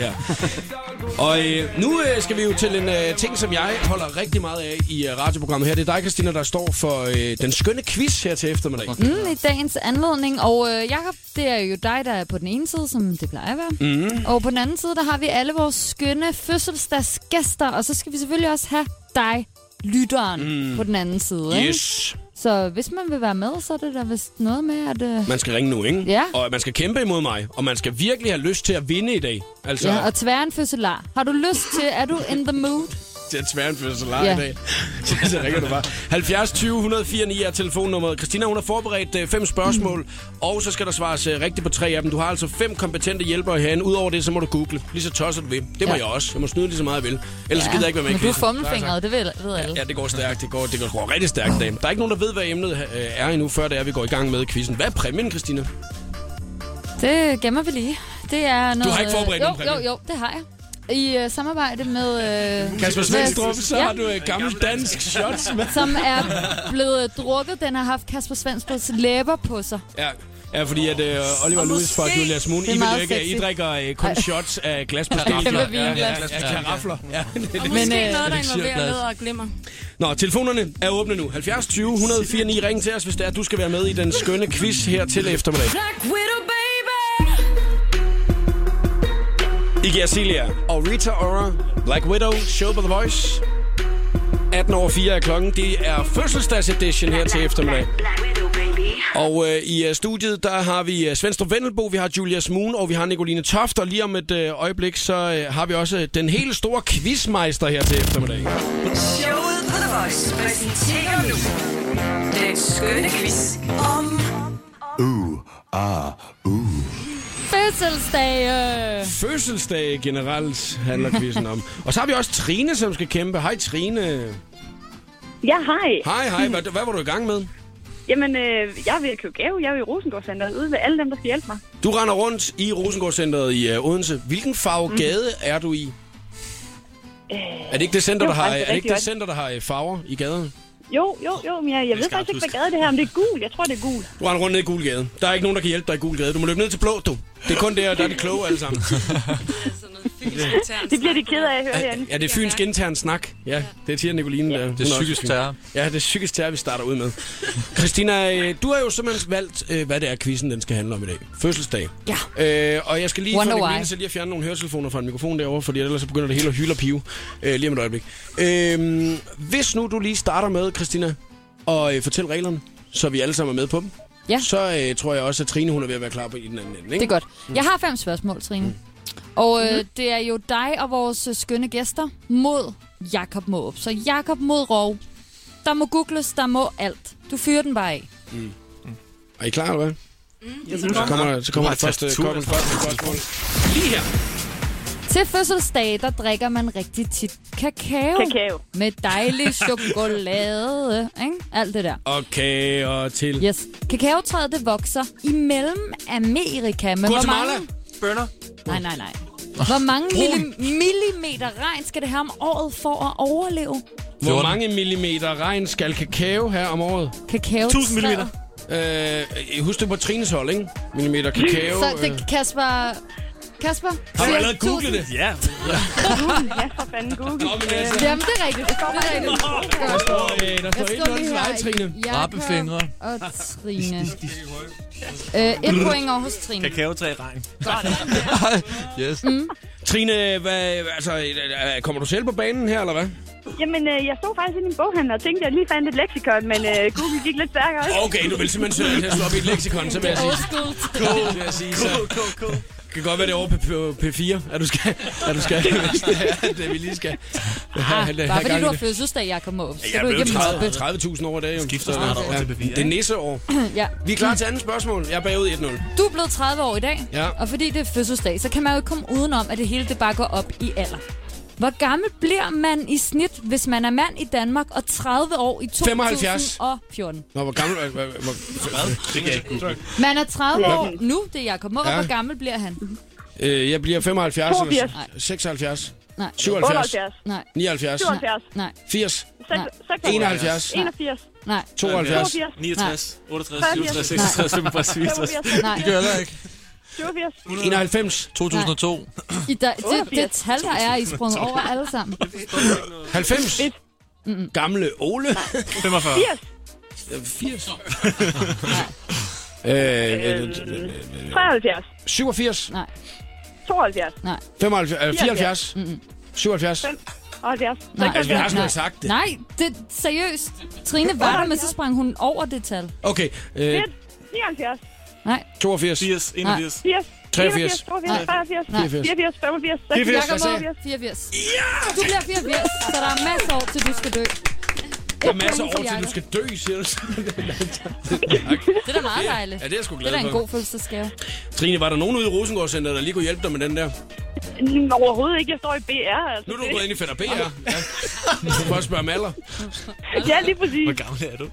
Speaker 2: leder efter. Ja. Og øh, nu øh, skal vi jo til en øh, ting, som jeg holder rigtig meget af i øh, radioprogrammet her. Det er dig, Christina, der står for øh, den skønne quiz her til eftermiddag.
Speaker 3: Mm, I dagens anledning. Og øh, Jakob, det er jo dig, der er på den ene side, som det plejer at være.
Speaker 2: Mm.
Speaker 3: Og på den anden side, der har vi alle vores skønne fødselsdagsgæster. Og så skal vi selvfølgelig også have dig, lytteren,
Speaker 2: Mm.
Speaker 3: på den anden side. ikke?
Speaker 2: Yes.
Speaker 3: Så hvis man vil være med, så er det der vist noget med, at... Øh,
Speaker 2: Man skal ringe nu, ikke?
Speaker 3: Ja.
Speaker 2: Og man skal kæmpe imod mig. Og man skal virkelig have lyst til at vinde i dag. Altså,
Speaker 3: ja, og tvære en fødselar. Har du lyst til... Er du in the mood?
Speaker 2: Det er svært fødselar
Speaker 3: Ja.
Speaker 2: i dag. Så ringer du bare. 70 20 104 9 er telefonnummeret. Christina, hun har forberedt øh, fem spørgsmål, og så skal der svares øh, rigtigt på tre af dem. Du har altså fem kompetente hjælpere herinde. Udover det, så må du google. Lige så tosset du vil. Det
Speaker 3: Ja.
Speaker 2: må jeg også. Jeg må snyde lige så meget, jeg vil. Ellers ja. gider jeg ikke være med i
Speaker 3: Men du er
Speaker 2: quizzen. Nej,
Speaker 3: fummelfingret, det ved, ved
Speaker 2: tak.
Speaker 3: alle.
Speaker 2: Ja, det går stærkt. Det går, det går, går rigtig stærkt i dag. Der er ikke nogen, der ved, hvad emnet øh, er endnu, før det er, vi går i gang med quizzen. Hvad er præmien, Christina?
Speaker 3: Det gemmer vi lige. Det er noget...
Speaker 2: har ikke forberedt
Speaker 3: jo,
Speaker 2: nogen præmie?
Speaker 3: Jo, jo, det har jeg. I øh, samarbejde med... Øh,
Speaker 2: Kasper
Speaker 3: med-
Speaker 2: Svendstrup, så har du øh, gammel dansk shots med.
Speaker 3: som er blevet drukket. Den har haft Kasper Svendstrups læber på sig.
Speaker 2: Ja. Ja, fordi at øh, Oliver
Speaker 3: Og
Speaker 2: Lewis fra
Speaker 3: måske-
Speaker 2: Julia Smoon,
Speaker 3: Det
Speaker 2: I,
Speaker 3: er
Speaker 2: vil
Speaker 3: meget
Speaker 2: jo ikke, I
Speaker 3: sexy.
Speaker 2: drikker øh, kun
Speaker 3: Ej.
Speaker 2: shots af glas på
Speaker 3: Ja,
Speaker 2: stil.
Speaker 3: kæmpe
Speaker 10: vinglas.
Speaker 2: ja, rafler. Ja.
Speaker 10: Og måske
Speaker 2: Men,
Speaker 10: noget,
Speaker 2: øh,
Speaker 10: der involverer
Speaker 2: cirklas.
Speaker 10: læder og glimmer.
Speaker 2: Nå, telefonerne er åbne nu. 70 20 104 9. Ring til os, hvis det er, at du skal være med i den skønne quiz her til eftermiddag.
Speaker 5: Black Widow, baby.
Speaker 2: Iggy Azalea og Rita Ora, Black Widow, Show på The Voice. 18 over 4 er klokken. Det er fødselsdags edition her til eftermiddag. Og øh, i øh, studiet, der har vi øh, Svendstrup Vendelbo, vi har Julia Smoon, og vi har Nicoline Toft. Og lige om et øh, øjeblik, så øh, har vi også øh, den helt store quizmeister her til eftermiddag.
Speaker 7: Showet på The Voice præsenterer nu den skønne quiz om
Speaker 17: Uh, ah,
Speaker 3: Fødselsdag! Øh.
Speaker 2: Fødselsdag generelt handler quizzen om. Og så har vi også Trine, som skal kæmpe. Hej Trine.
Speaker 18: Ja, hej.
Speaker 2: Hej, hej. Hvad, hvad var du i gang med?
Speaker 18: Jamen, øh, jeg er ved at købe gave. Jeg er ved Rosengårdscenteret ude ved alle dem, der skal hjælpe mig.
Speaker 2: Du render rundt i Rosengårdscenteret i uh, Odense. Hvilken farve
Speaker 18: Mm.
Speaker 2: gade er du i? Er det ikke Øh, det center,
Speaker 18: det
Speaker 2: der
Speaker 18: var
Speaker 2: har,
Speaker 18: faktisk
Speaker 2: er det ikke
Speaker 18: rigtig
Speaker 2: det center, der har øh, farver i gaden?
Speaker 18: Jo, jo, jo, men jeg, jeg ved
Speaker 2: skal
Speaker 18: faktisk ikke,
Speaker 2: huske.
Speaker 18: hvad gade det her, om det er gul. Jeg tror, det er gul.
Speaker 2: Du render rundt ned i gul gade. Der er ikke nogen, der kan hjælpe dig i gul gade. Du må løbe ned til blå, du. Det er kun der, der er de kloge alle sammen.
Speaker 18: Det bliver de ked af at høre herinde.
Speaker 2: Ja, det er fynsk intern snak. Ja, det er Tia Nicoline. Ja.
Speaker 12: Det er psykisk terror.
Speaker 2: Ja, det er psykisk terror, vi starter ud med. Christina, øh, du har jo simpelthen valgt, øh, hvad det er, quizzen den skal handle om i dag. Fødselsdag. Ja. Øh, og jeg skal lige
Speaker 3: Wonder
Speaker 2: få
Speaker 3: why.
Speaker 2: Nicoline til lige at fjerne nogle høretelefoner fra en mikrofon derovre, fordi ellers så begynder det hele at hylde og pive øh, lige om et øjeblik. Øh, hvis nu du lige starter med, Christina, og øh, fortæl reglerne, så vi alle sammen er med på dem,
Speaker 3: ja.
Speaker 2: så øh, tror jeg også, at Trine hun er ved at være klar på i den anden ende. Ikke?
Speaker 3: Det er godt. Jeg har fem spørgsmål, Trine.
Speaker 2: Mm.
Speaker 3: Og
Speaker 2: Mm-hmm.
Speaker 3: øh, det er jo dig og vores øh, skønne gæster mod Jakob Måb. Så Jakob mod Rov. Der må googles, der må alt. Du fyrer den bare af.
Speaker 2: Mm. Er I klar, eller hvad?
Speaker 3: Ja,
Speaker 2: Så kommer, så kommer
Speaker 12: Bare
Speaker 2: det første,
Speaker 12: tastatur.
Speaker 2: kommer det første spørgsmål. Lige her.
Speaker 3: Til fødselsdag, der drikker man rigtig tit kakao.
Speaker 18: Kakao.
Speaker 3: Med dejlig chokolade, ikke? Alt det der.
Speaker 2: Okay, og til.
Speaker 3: Yes. Kakaotræet, det vokser imellem Amerika. Men hvor
Speaker 2: Guatemala.
Speaker 3: mange...
Speaker 2: Bønder.
Speaker 3: Nej, nej, nej. Hvor mange
Speaker 2: Brun.
Speaker 3: milli- millimeter regn skal det have om året for at overleve?
Speaker 2: Hvor mange millimeter regn skal kakao have om året?
Speaker 3: Kakao.
Speaker 2: Øh, husk det på Trines hold, ikke? Millimeter kakao.
Speaker 3: Så det, Kasper... Kasper?
Speaker 2: Har du
Speaker 3: siger
Speaker 2: allerede googlet det?
Speaker 3: tusind.
Speaker 2: Ja.
Speaker 10: Google, ja, for fanden Google.
Speaker 2: altså.
Speaker 3: Jamen, det er rigtigt. Det er rigtigt.
Speaker 2: Der står, øh, der står
Speaker 3: Jeg står
Speaker 2: 1-0
Speaker 3: lige
Speaker 2: til
Speaker 3: her.
Speaker 2: dig, Trine.
Speaker 3: Jakob
Speaker 9: Rappefingre.
Speaker 3: Og Trine. Øh, et point over hos Trine.
Speaker 9: Kakaotræ i regn.
Speaker 2: yes. Mm. Trine, hvad, altså, øh, øh, kommer du selv på banen her, eller hvad?
Speaker 10: Jamen, øh, jeg stod faktisk inde i en boghandler og tænkte, at jeg lige fandt et leksikon, men øh, Google gik lidt stærkere.
Speaker 2: Okay, du vil simpelthen søge til at slå op i et leksikon, så vil jeg sige. Cool, vil jeg sige. Så. Det kan godt være, det er over på P- P4, at du skal, at du skal, hvis det er, det vi lige skal.
Speaker 3: Ah,
Speaker 2: have-
Speaker 3: bare
Speaker 2: have gang
Speaker 3: fordi
Speaker 2: i
Speaker 3: du har
Speaker 2: det.
Speaker 3: fødselsdag, Jakob Måb, så
Speaker 2: Jeg
Speaker 3: er du
Speaker 2: blev
Speaker 3: ikke mobbet.
Speaker 2: 30.000 over i dag. jo.
Speaker 9: Skifter snart over til P4,
Speaker 2: Det er nisseår.
Speaker 3: ja.
Speaker 2: Vi er klar til andet spørgsmål. Jeg er bagud 1-0.
Speaker 3: Du er blevet 30 år i dag,
Speaker 2: Ja.
Speaker 3: og fordi det er fødselsdag, så kan man jo ikke komme udenom, at det hele det bare går op i alder. Hvor gammel bliver man i snit, hvis man er mand i Danmark og 30 år i
Speaker 2: 75.
Speaker 3: 2014?
Speaker 2: Nå, hvor gammel... Hvor, hvor, hvor, det kan jeg ikke google.
Speaker 3: Man er 30
Speaker 2: Hvad?
Speaker 3: år nu, det er Jacob Måb.
Speaker 2: Ja.
Speaker 3: Hvor gammel bliver han?
Speaker 2: Øh, jeg bliver 75 eller
Speaker 3: 82.
Speaker 2: 76.
Speaker 3: Nej.
Speaker 2: 77.
Speaker 3: Nej.
Speaker 2: 79.
Speaker 10: 77.
Speaker 3: Nej.
Speaker 2: 80.
Speaker 3: Nej.
Speaker 2: 71.
Speaker 10: 81.
Speaker 3: Nej.
Speaker 2: 72.
Speaker 9: 69, 68,
Speaker 10: 83,
Speaker 9: 67, 66, 65, 67.
Speaker 3: Nej.
Speaker 9: Det gør jeg ikke.
Speaker 10: 87.
Speaker 2: 91.
Speaker 9: 2002.
Speaker 3: I da, det, det tal, der er, I er sprunget over alle sammen.
Speaker 2: 90. Gamle Ole.
Speaker 9: 45.
Speaker 2: 80. Øh, øh, øh,
Speaker 10: 73.
Speaker 2: 87.
Speaker 3: Nej.
Speaker 10: 72.
Speaker 3: Nej.
Speaker 2: 75, øh, 74.
Speaker 3: Mm-hmm.
Speaker 2: 77.
Speaker 10: 75.
Speaker 3: Nej.
Speaker 2: Altså, vi har sgu da sagt det.
Speaker 3: Nej, det seriøst. Trine var der, men så sprang hun over det tal.
Speaker 2: Okay. Øh,
Speaker 10: 79.
Speaker 3: Nej.
Speaker 2: 82. 80.
Speaker 3: 81.
Speaker 10: 80.
Speaker 2: 83.
Speaker 10: 82, 83, 84, 84, 85,
Speaker 2: 84,
Speaker 10: 86,
Speaker 2: hvad sagde
Speaker 10: 84.
Speaker 3: 84. Ja! Du bliver 84, så der er masser af år, til du skal dø.
Speaker 2: Der er masser af år til, altså, du skal dø, siger du.
Speaker 3: Det er da meget dejligt.
Speaker 2: Ja, det er jeg sgu glad
Speaker 3: Det er da en
Speaker 2: for.
Speaker 3: god fødselsdagsgave.
Speaker 2: Trine, var der nogen ude i Rosengårdscenteret, der lige kunne hjælpe dig med den der?
Speaker 10: Mm, Overhovedet ikke, jeg står i BR. Altså.
Speaker 2: Nu er du gået ind i fætter B her. Ja. Du kan også spørge om alder.
Speaker 10: Ja, lige præcis.
Speaker 2: Hvor gammel er du?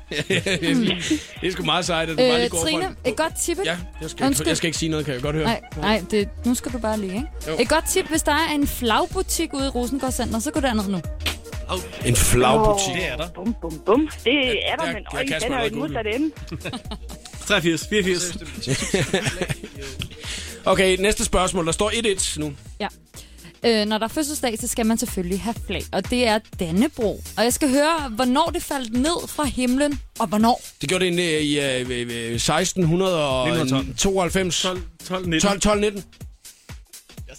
Speaker 2: det er sgu meget sejt, at du bare
Speaker 3: Øh,
Speaker 2: lige går for
Speaker 3: Trine,
Speaker 2: den.
Speaker 3: et godt tip. ikke?
Speaker 2: Ja, jeg skal,
Speaker 3: Undskyld.
Speaker 2: jeg skal ikke sige noget, kan jeg godt høre.
Speaker 3: Nej, nej det, nu skal du bare lige, ikke?
Speaker 2: Jo.
Speaker 3: Et godt tip, hvis der er en flagbutik ude i Rosengård Center, så gå derned nu.
Speaker 2: En flagbutik.
Speaker 10: Det er der. Bum, bum, bum. Det er der,
Speaker 2: der-
Speaker 10: men
Speaker 2: der
Speaker 10: øj,
Speaker 2: kan
Speaker 10: den
Speaker 2: Kasper
Speaker 10: er jo
Speaker 2: allerede
Speaker 10: et modsat
Speaker 2: google.
Speaker 10: ende.
Speaker 9: 83, 84.
Speaker 2: okay, næste spørgsmål. Der står 1-1 nu.
Speaker 3: Ja. Øh, når der er fødselsdag, så skal man selvfølgelig have flag, og det er Dannebro. Og jeg skal høre, hvornår det faldt ned fra himlen, og hvornår?
Speaker 2: Det gjorde det ind øh, i øh, øh, øh, 1692. 12, 12, 19. 12, 12, 19.
Speaker 3: Jeg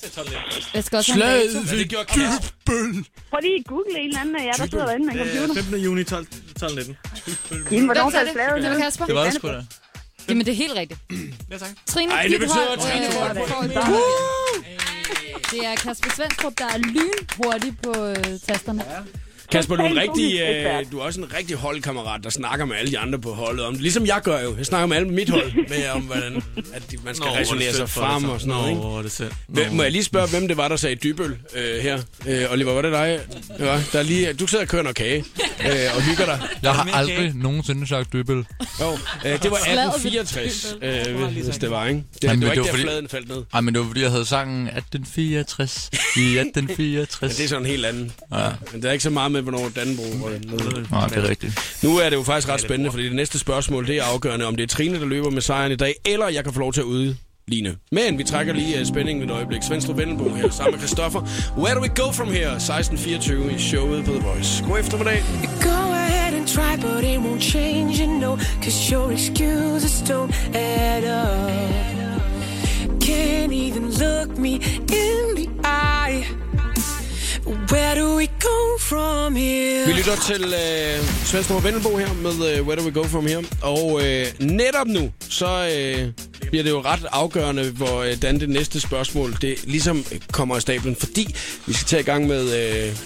Speaker 3: skal også have en
Speaker 2: Slaget
Speaker 3: dato.
Speaker 2: ved Købbøl.
Speaker 10: Prøv lige at google en eller anden af jer, der sidder derinde med en computer.
Speaker 9: 15. Øh, juni 12, 12 19.
Speaker 10: Jamen, hvornår
Speaker 3: Hvem sagde
Speaker 10: faldt
Speaker 3: det?
Speaker 10: slaget ned?
Speaker 3: Det var Kasper.
Speaker 9: Det var det sgu da.
Speaker 3: Jamen, det er helt rigtigt. Ja, tak. Trine
Speaker 9: Ej, det betyder, at Trine får et
Speaker 3: øh,
Speaker 9: point
Speaker 3: får et
Speaker 9: mere.
Speaker 3: point. Det er Kasper Svendstrup, der er lynhurtig på øh, tasterne.
Speaker 2: Kasper, du er, en rigtig, øh, du er også en rigtig holdkammerat, der snakker med alle de andre på holdet om det. Ligesom jeg gør jo. Jeg snakker med alle på mit hold med om, hvordan at de- man skal
Speaker 9: Nå, hvor er det
Speaker 2: resonere sig
Speaker 9: synd for dig,
Speaker 2: frem
Speaker 9: så.
Speaker 2: og sådan noget.
Speaker 9: Nå,
Speaker 2: Ikke?
Speaker 9: hvor er det synd.
Speaker 2: Hvem, må jeg lige spørge, hvem det var, der sagde dybøl øh, her? Øh, Oliver, var det dig? Ja, der er lige, du sidder og kører noget kage øh, og hygger dig.
Speaker 19: Jeg har aldrig nogensinde sagt dybel.
Speaker 2: Jo, øh, det var 1864, øh, hvis det var, ikke? Det, det var ikke der, fladen faldt ned.
Speaker 19: Nej, men det var fordi, jeg havde sangen 1864, i 1864.
Speaker 2: Men det er sådan en helt anden.
Speaker 19: Ja.
Speaker 2: Men der er ikke så meget med, hvornår Danbro er nede.
Speaker 19: Nej, det er rigtigt.
Speaker 2: Nu er det jo faktisk ret spændende, fordi det næste spørgsmål, det er afgørende, om det er Trine, der løber med sejren i dag, eller jeg kan få lov til at udligne. Men vi trækker lige øh, spændingen ved et øjeblik. Svendstrup Vendelbo her sammen med Christoffer. Where do we go from here? 16.24 i showet på The Voice. God eftermiddag.
Speaker 7: Go ahead and try, but it won't change, you know, cause your excuses don't add up. Can't even look me in the eye. Where do we go from here?
Speaker 2: Vi lytter til øh, Svendstrup Vendelbo her med øh, Where do we go from here? Og øh, netop nu, så øh, bliver det jo ret afgørende, hvordan det næste spørgsmål det ligesom kommer af stablen. Fordi vi skal tage i gang med øh,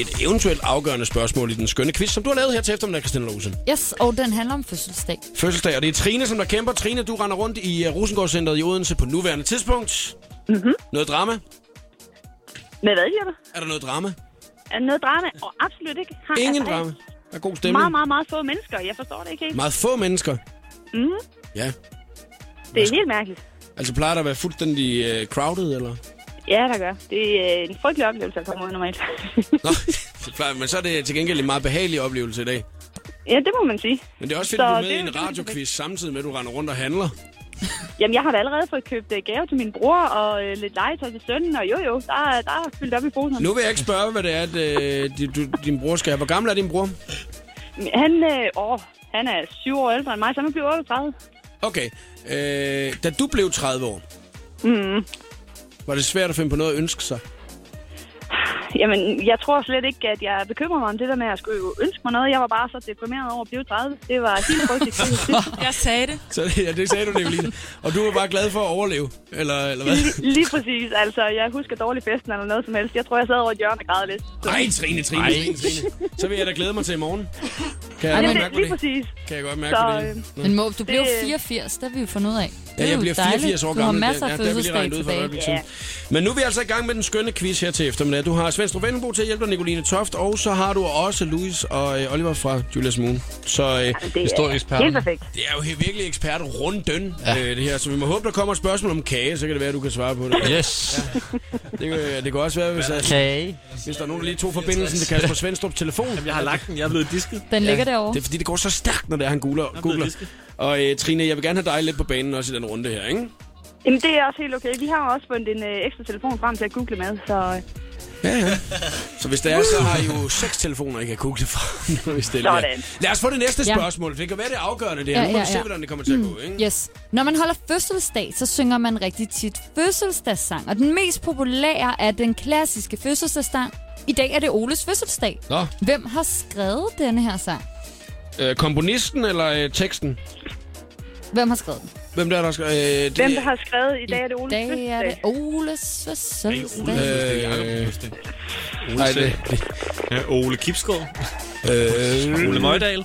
Speaker 2: et eventuelt afgørende spørgsmål i den skønne quiz, som du har lavet her til eftermiddag, Christina Lose.
Speaker 3: Yes, og den handler om fødselsdag.
Speaker 2: Fødselsdag, og det er Trine, som der kæmper. Trine, du render rundt i uh, Rosengårdscenteret i Odense på nuværende tidspunkt.
Speaker 10: Mhm.
Speaker 2: Noget drama?
Speaker 10: Med hvad siger du?
Speaker 2: Er der noget drama?
Speaker 10: Er der noget drama? Og absolut ikke. Har,
Speaker 2: Ingen
Speaker 10: altså,
Speaker 2: drama. Der er god
Speaker 10: Meget,
Speaker 2: stemning.
Speaker 10: meget, meget, meget få mennesker. Jeg forstår det ikke helt.
Speaker 2: Meget få mennesker.
Speaker 10: Mm,
Speaker 2: Ja.
Speaker 10: det er helt mærkeligt.
Speaker 2: Altså plejer der at være fuldstændig uh, crowded, eller?
Speaker 10: Ja, der gør. Det er øh, en frygtelig oplevelse at komme ud normalt.
Speaker 2: Det plejer, men så er det til gengæld en meget behagelig oplevelse i dag.
Speaker 10: ja, det må man sige.
Speaker 2: Men det er også fedt, at
Speaker 10: Så
Speaker 2: du er med
Speaker 10: det
Speaker 2: i
Speaker 10: er jo-
Speaker 2: en radioquiz samtidig med, at du render rundt og handler.
Speaker 10: Jamen, jeg har da allerede fået købt øh, gave til min bror og øh, lidt legetøj til sønnen, og jo jo, der, er- der er fyldt op i poserne.
Speaker 2: Nu vil jeg ikke spørge, hvad det er, at, øh, din, du, din bror skal have. Hvor gammel er din bror?
Speaker 10: Han, øh, åh, han er syv år ældre end mig, så han bliver 38.
Speaker 2: Okay. Øh, da du blev 30 år,
Speaker 10: Mm.
Speaker 2: var det svært at finde på noget at ønske sig?
Speaker 10: Jamen, jeg tror slet ikke, at jeg bekymrer mig om det der med, at jeg skulle jo ønske mig noget. Jeg var bare så deprimeret over at blive 30. Det var helt frygteligt.
Speaker 7: Jeg sagde det.
Speaker 2: Så ja, det sagde du, Nicoline. Og du var bare glad for at overleve, eller, eller hvad?
Speaker 10: Lige, lige præcis, altså. Jeg husker dårlig festen eller noget som helst. Jeg tror, jeg sad over et hjørne og græd lidt. Så-
Speaker 2: Nej, Trine, Trine,
Speaker 10: Ej.
Speaker 2: Trine, Trine. Så vil jeg da glæde mig til i morgen. Kan jeg
Speaker 10: Jamen,
Speaker 2: godt
Speaker 10: det-
Speaker 2: mærke på
Speaker 10: lige
Speaker 2: det?
Speaker 10: præcis.
Speaker 2: Kan jeg godt mærke
Speaker 10: Så, øh,
Speaker 2: på det? Nå.
Speaker 20: Men Måb, du blev
Speaker 10: Det-
Speaker 20: 84, der vil vi fundet ud af. Det
Speaker 2: Mm. Ja,
Speaker 20: er
Speaker 2: jeg
Speaker 20: jo
Speaker 2: bliver 84 år
Speaker 20: dejligt.
Speaker 2: gammel.
Speaker 20: Du har masser af
Speaker 2: ja, der vil lige
Speaker 20: fødselsdage
Speaker 2: regne ud for et
Speaker 20: tilbage.
Speaker 2: øjeblik siden. Men nu er vi altså i gang med den skønne quiz her til eftermiddag. Du har Svend Struvenbo til at hjælpe dig, Nicoline Toft, og så har du også Louis og øh, Oliver fra Julius Moon. Så øh, ja,
Speaker 10: det er Historieeksperten. helt perfekt.
Speaker 2: Det er jo he- virkelig ekspert runden, ja. øh, det her. Så vi må håbe, der kommer et spørgsmål om kage, så kan det være, at du kan svare på det.
Speaker 5: Yes.
Speaker 2: Ja. Det, kan- det kan også være, hvis, at,
Speaker 5: Kage.
Speaker 2: hvis der er nogen, der lige tog forbindelsen til Kasper Svendstrup telefon. Jamen,
Speaker 9: jeg har lagt den. Jeg er blevet disket.
Speaker 3: Den ligger derovre.
Speaker 2: Det er, fordi det går så stærkt, når det er, han googler. googler. Og øh, Trine, jeg vil gerne have dig lidt på banen også i den runde her, ikke?
Speaker 10: Jamen, det er også helt okay. Vi har jo også fundet en øh, ekstra telefon frem til at google med, så... øh,
Speaker 2: Ja, ja. Så hvis det er, så har I jo seks telefoner, I kan google fra. Hvis det er.
Speaker 10: Sådan.
Speaker 2: Lad os få det næste
Speaker 3: Ja.
Speaker 2: spørgsmål. for Det kan være det er afgørende, det her. Ja, Mm. ja, ja. Nu må vi se, hvordan det kommer til at gå, ikke?
Speaker 3: Yes. Når man holder fødselsdag, så synger man rigtig tit fødselsdagssang. Og den mest populære er den klassiske fødselsdagssang. I dag er det Oles fødselsdag.
Speaker 2: Nå,
Speaker 3: Hvem har skrevet denne her sang?
Speaker 2: øh, komponisten eller øh, teksten?
Speaker 3: Hvem har skrevet den?
Speaker 2: Hvem der er, der skal... Øh, det,
Speaker 10: Hvem, der har skrevet, i dag er det Oles
Speaker 3: I dag er det
Speaker 10: fødselsdag.
Speaker 3: Oles fødselsdag.
Speaker 2: Øh,
Speaker 11: Nej,
Speaker 2: det...
Speaker 11: Ja, Ole Kipsgaard.
Speaker 9: Mm.
Speaker 2: Øh,
Speaker 11: Ole Møjdal.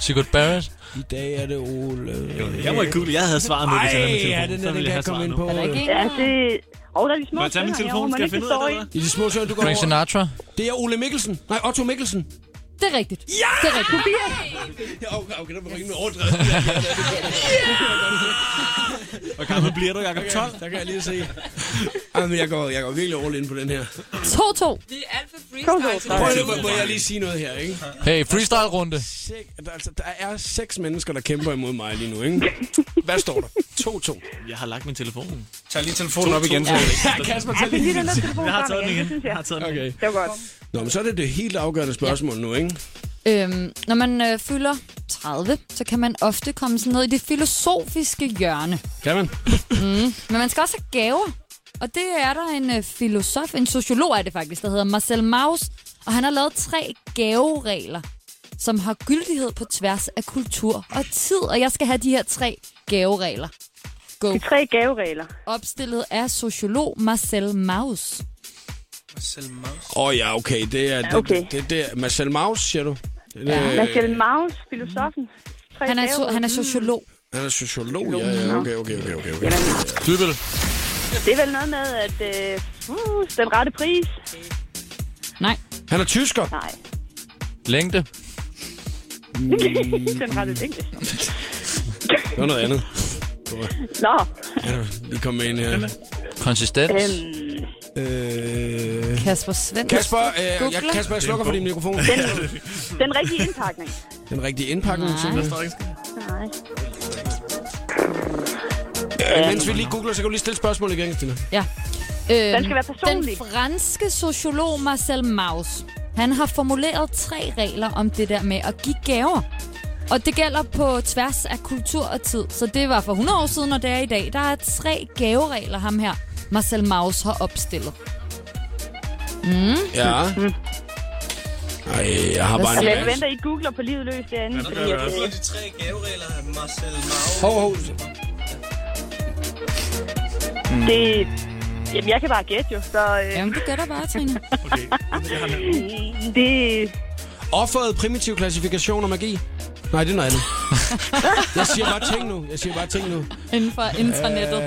Speaker 5: Sigurd Barrett.
Speaker 2: I dag er det Ole...
Speaker 9: Jeg må ikke google. Jeg havde svaret nu, hvis jeg havde min
Speaker 2: Ej, ja,
Speaker 9: telefon.
Speaker 2: den
Speaker 9: Så
Speaker 2: der, den
Speaker 9: ville
Speaker 2: kan jeg
Speaker 9: jeg have
Speaker 2: komme
Speaker 9: svaret
Speaker 2: ind på.
Speaker 9: nu.
Speaker 2: øh?
Speaker 10: Ja, det... Og der er de små
Speaker 9: Må jeg tage min
Speaker 10: sønner
Speaker 9: telefon?
Speaker 10: herovre,
Speaker 9: Skal
Speaker 10: man
Speaker 9: jeg finde
Speaker 10: ikke
Speaker 9: ud af
Speaker 10: forstår
Speaker 9: det,
Speaker 10: i.
Speaker 2: I de små søger, du går
Speaker 5: Frank
Speaker 2: over.
Speaker 5: Sinatra.
Speaker 2: Det er Ole Mikkelsen. Nej, Otto Mikkelsen.
Speaker 3: Det er rigtigt.
Speaker 2: Ja!
Speaker 3: Det er rigtigt.
Speaker 2: Ja, okay, okay, der var rimelig overdrevet. Hvor gammel bliver du, Jacob? 12? Der kan jeg lige se. Jamen, jeg går, jeg går virkelig all in på den her.
Speaker 7: Det
Speaker 3: 2-2.
Speaker 7: er alt for freestyle. til
Speaker 2: Prøv
Speaker 7: det.
Speaker 2: lige, må, må jeg lige sige noget her, ikke?
Speaker 5: Hey, freestyle-runde.
Speaker 2: Sek- der- Altså, der er seks mennesker, der kæmper imod mig lige nu, ikke? Hvad står der? 2-2.
Speaker 9: Jeg har lagt min telefon.
Speaker 21: Tag lige telefonen op igen.
Speaker 2: Ja, Kasper, tag lige.
Speaker 10: den der telefon
Speaker 9: Jeg har
Speaker 10: frem
Speaker 9: taget den
Speaker 10: igen,
Speaker 9: igen.
Speaker 10: det synes
Speaker 9: Jeg har taget den
Speaker 2: Okay.
Speaker 9: igen.
Speaker 10: Det var godt.
Speaker 2: Nå, men så er det det helt afgørende spørgsmål nu, ikke?
Speaker 3: Øhm, når man øh, fylder 30, så kan man ofte komme sådan ned i det filosofiske hjørne.
Speaker 2: Kan man?
Speaker 3: Mm. Men man skal også have gaver. Og det er der en øh, filosof, en sociolog er det faktisk, der hedder Marcel Mauss. Og han har lavet tre gaveregler, som har gyldighed på tværs af kultur og tid. Og jeg skal have de her tre gaveregler. Go.
Speaker 10: De tre gaveregler.
Speaker 3: Opstillet af sociolog Marcel Mauss.
Speaker 21: Marcel Maus.
Speaker 2: Åh oh, ja, okay. Det er, det,
Speaker 10: okay.
Speaker 2: det, det, det er Marcel Maus, siger du? Det,
Speaker 10: Øh. Marcel Maus, filosofen. Tre
Speaker 3: Han er, so-
Speaker 10: gaveregler.
Speaker 3: han er sociolog.
Speaker 2: Han er sociolog, ja, ja, okay, okay, okay, okay. okay.
Speaker 5: Dybel.
Speaker 10: Det er vel noget med, at øh, uh, den rette pris.
Speaker 3: Nej.
Speaker 2: Han er tysker.
Speaker 10: Nej.
Speaker 5: Længde.
Speaker 10: den rette længde.
Speaker 2: Det var noget andet.
Speaker 10: Nå,
Speaker 2: Ja, vi kom med en her.
Speaker 5: Konsistens.
Speaker 10: øhm,
Speaker 2: Øh...
Speaker 3: Kasper Svendsen.
Speaker 2: Kasper, øh, jeg, Kasper, jeg slukker for din mikrofon.
Speaker 10: den, den rigtige indpakning.
Speaker 2: Den rigtige indpakning.
Speaker 3: Nej.
Speaker 2: til den.
Speaker 10: Nej.
Speaker 2: Øh, mens vi lige googler, så kan du lige stille spørgsmål igen, Stine.
Speaker 3: Ja. Øhm,
Speaker 10: Den skal være personlig.
Speaker 3: Den franske sociolog Marcel Mauss, han har formuleret tre regler om det der med at give gaver. Og det gælder på tværs af kultur og tid. Så det var for 100 år siden, og det er i dag. Der er tre gaveregler, ham her, Marcel Mauss har opstillet.
Speaker 2: Ja. Ej, jeg har bare
Speaker 10: Og
Speaker 2: en...
Speaker 10: jeg venter, I googler på livet løs derinde.
Speaker 21: Hvad
Speaker 10: Fordi, at, øh,
Speaker 21: er de tre gaveregler af Marcel Maus?
Speaker 2: Hov, hov.
Speaker 10: det, jamen, jeg kan bare gætte jo, så øh,
Speaker 3: Jamen, du gætter bare, Trine.
Speaker 10: det...
Speaker 2: Offeret primitiv klassifikation og magi. Nej, det er noget andet. Jeg siger bare ting nu. Jeg siger bare ting nu.
Speaker 3: Inden for internettet.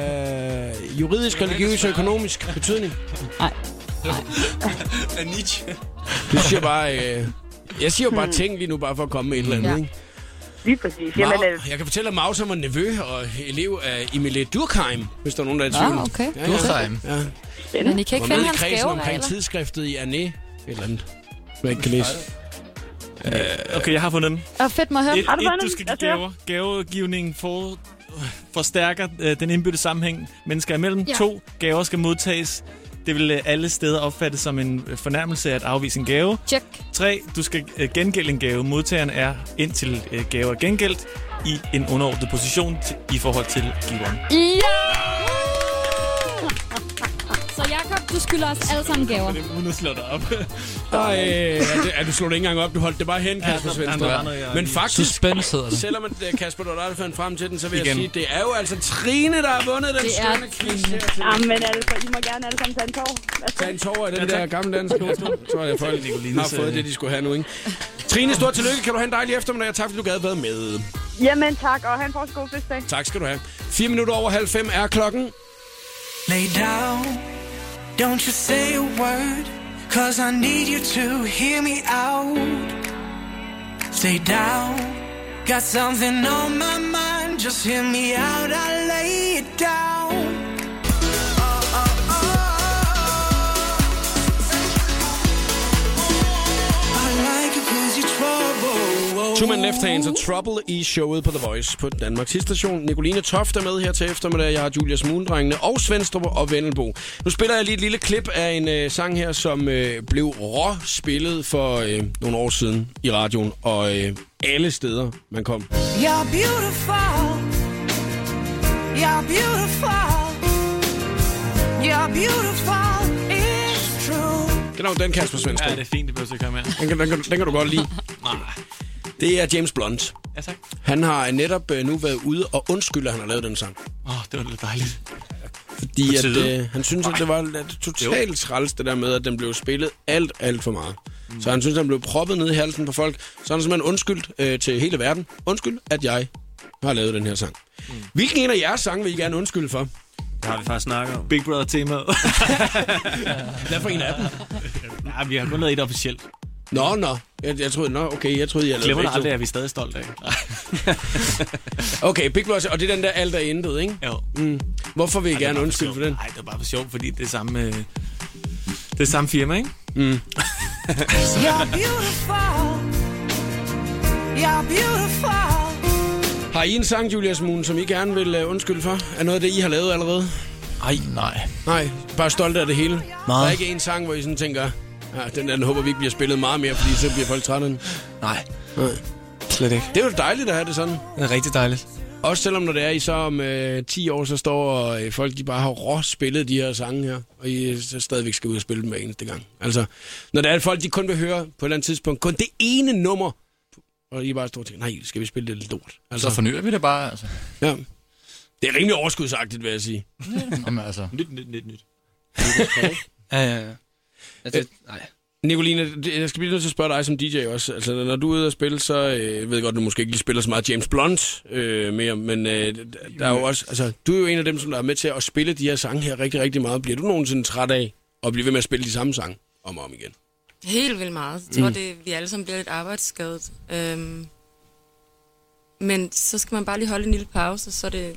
Speaker 2: Øh, juridisk, religiøs og økonomisk betydning.
Speaker 3: Nej.
Speaker 21: Af Nietzsche.
Speaker 2: Du siger bare... Øh, jeg siger jo bare
Speaker 10: Hmm.
Speaker 2: ting lige nu, bare for at komme med et eller andet,
Speaker 3: Ja.
Speaker 2: ikke?
Speaker 10: Lige præcis. Jamen, øh,
Speaker 2: Mau, jeg kan fortælle, at Maus var nevø og elev af Emilie Durkheim, hvis der er nogen, der er i tvivl.
Speaker 3: Ah, okay.
Speaker 2: Ja, ja.
Speaker 5: Durkheim.
Speaker 2: Ja.
Speaker 3: Men I kan
Speaker 2: Var
Speaker 3: ikke
Speaker 2: med
Speaker 3: finde
Speaker 2: i
Speaker 3: hans
Speaker 2: kredsen omkring
Speaker 3: gaveregler.
Speaker 2: tidsskriftet i Anne. Et eller andet. Hvad jeg ikke kan læse.
Speaker 9: Øh, Okay, jeg har fundet den.
Speaker 15: Og fedt mig at høre.
Speaker 9: Et, et, du skal give gaver. Gavegivningen for, forstærker øh, den indbyrdes sammenhæng mennesker imellem.
Speaker 15: Ja.
Speaker 9: Ja. To gaver skal modtages. Det vil øh, alle steder opfattes som en øh, fornærmelse at afvise en gave.
Speaker 15: Check.
Speaker 9: Tre, du skal øh, gengælde en gave. Modtageren er indtil øh, gave er gengældt i en underordnet position til, i forhold til giveren.
Speaker 15: Ja! Så Jakob, du skylder os alle sammen gaver.
Speaker 9: Uden at slå dig op.
Speaker 2: Nej, er, det- er du slog det ikke engang op. Du holdt det bare hen, Kasper
Speaker 9: der-
Speaker 2: Svendstrup.
Speaker 9: der var noget, jeg
Speaker 2: Men
Speaker 9: lige-
Speaker 2: faktisk,
Speaker 12: Suspense hedder det.
Speaker 2: selvom at, øh, Kasper, du var dig, der fandt frem til den, så vil jeg
Speaker 12: Igen.
Speaker 2: sige, det er jo altså Trine, der har vundet den
Speaker 18: Det er
Speaker 2: skønne quiz her. til.
Speaker 18: Jamen altså, I må gerne alle sammen tage en tår.
Speaker 2: Tag en tår af den
Speaker 9: Ja,
Speaker 2: der
Speaker 9: tak.
Speaker 2: gamle danske hovedstol. Så er jeg for, at de har fået det, de skulle have nu, ikke? Trine, stort tillykke. Kan du have en dejlig eftermiddag, og tak fordi du gad været med.
Speaker 18: Jamen tak, og han får en god fødselsdag.
Speaker 2: Tak skal du have. 4 minutter over halv fem er klokken.
Speaker 13: Lay down, don't you say a word, cause I need you to hear me out. Stay down, got something on my mind, just hear me out, I lay it down. Oh, oh, oh. I like you 'cause you're trouble.
Speaker 2: Two Man Left Hands og Trouble i showet på The Voice på Danmarks Hitstation. Nicoline Toft er med her til eftermiddag. Jeg har Julia Smuldrengene og Svendstrup og Vennelbo. Nu spiller jeg lige et lille klip af en øh, sang her, som øh, blev rå spillet for øh, nogle år siden i radioen. Og øh, alle steder, man kom.
Speaker 13: You're beautiful. You're beautiful. You're beautiful. It's true.
Speaker 2: Kan du den, Kasper Svendstrup?
Speaker 9: Ja, det er fint, det behøver så ikke komme her.
Speaker 2: Den kan, den, kan, den kan du godt lide. Det er James Blunt.
Speaker 9: Ja, tak.
Speaker 2: Han har netop øh, nu været ude og undskylder, at han har lavet den sang.
Speaker 9: Åh, oh, det var lidt dejligt.
Speaker 2: Fordi at,
Speaker 9: tide.
Speaker 2: øh, han synes, at det var lidt totalt træls, det der med, at den blev spillet alt, alt for meget. Mm. Så han synes, at den blev proppet ned i halsen på folk. Så han har simpelthen undskyldt øh, til hele verden. Undskyld, at jeg har lavet den her sang. Mm. Hvilken en af jeres sange vil I gerne undskylde for?
Speaker 14: Det har vi faktisk snakket om.
Speaker 9: Big Brother-temaet.
Speaker 2: Hvad for en af dem?
Speaker 9: ja, vi har kun lavet et officielt.
Speaker 2: Nå, nå. Jeg, jeg troede, nå, okay, jeg troede, jeg lavede
Speaker 9: Glemmer det
Speaker 2: begge to.
Speaker 9: aldrig, at vi er stadig stolte af.
Speaker 2: Okay, Big Brother, og det er den der alt er intet, ikke?
Speaker 9: Jo.
Speaker 2: Mm. Hvorfor vil I gerne undskylde for den?
Speaker 9: Nej, det var bare for sjovt, fordi det er samme, øh, det er samme firma, ikke?
Speaker 2: Mm.
Speaker 13: You're beautiful. You're beautiful.
Speaker 2: Har I en sang, Julia Smoon, som I gerne vil uh, undskylde for? Er noget af det, I har lavet allerede?
Speaker 12: Ej, nej.
Speaker 2: Nej, bare stolte af det hele. Meget. Der er ikke en sang, hvor I sådan tænker, ja, den der den håber vi ikke bliver spillet meget mere, fordi så bliver folk trætte af den.
Speaker 9: Nej,
Speaker 2: Nej.
Speaker 9: slet ikke.
Speaker 2: Det er jo dejligt at have det sådan.
Speaker 9: Det er rigtig dejligt.
Speaker 2: Også selvom når det er, I så om øh, 10 år, så står og, øh, folk, de bare har rå spillet de her sange her, og I øh, så stadigvæk skal ud og spille dem hver eneste gang. Altså, når det er, at folk, de kun vil høre på et eller andet tidspunkt, kun det ene nummer, og I bare står og tænker, nej, skal vi spille det lidt lort?
Speaker 12: Så fornyer vi det bare, altså.
Speaker 2: Ja. Det er rimelig overskudsagtigt, vil jeg sige.
Speaker 12: Jamen, altså.
Speaker 9: Nyt, nyt, nyt, nyt.
Speaker 11: Ja, ja, ja. Altså, nej.
Speaker 2: Nicoline, det- jeg skal blive nødt til at spørge dig som DJ også. Altså, når du er ude og spille, så øh, jeg ved jeg godt, du måske ikke lige spiller så meget James Blunt øh, mere, men øh, der er jo også, altså, du er jo en af dem, som der er med til at spille de her sange her rigtig, rigtig meget. Bliver du nogensinde træt af at blive ved med at spille de samme sange om og om igen?
Speaker 10: Helt vildt meget. Jeg tror,
Speaker 2: Mm.
Speaker 10: mm. det, vi alle sammen bliver lidt arbejdsskadet. Øhm, men så skal man bare lige holde en lille pause, og så er det,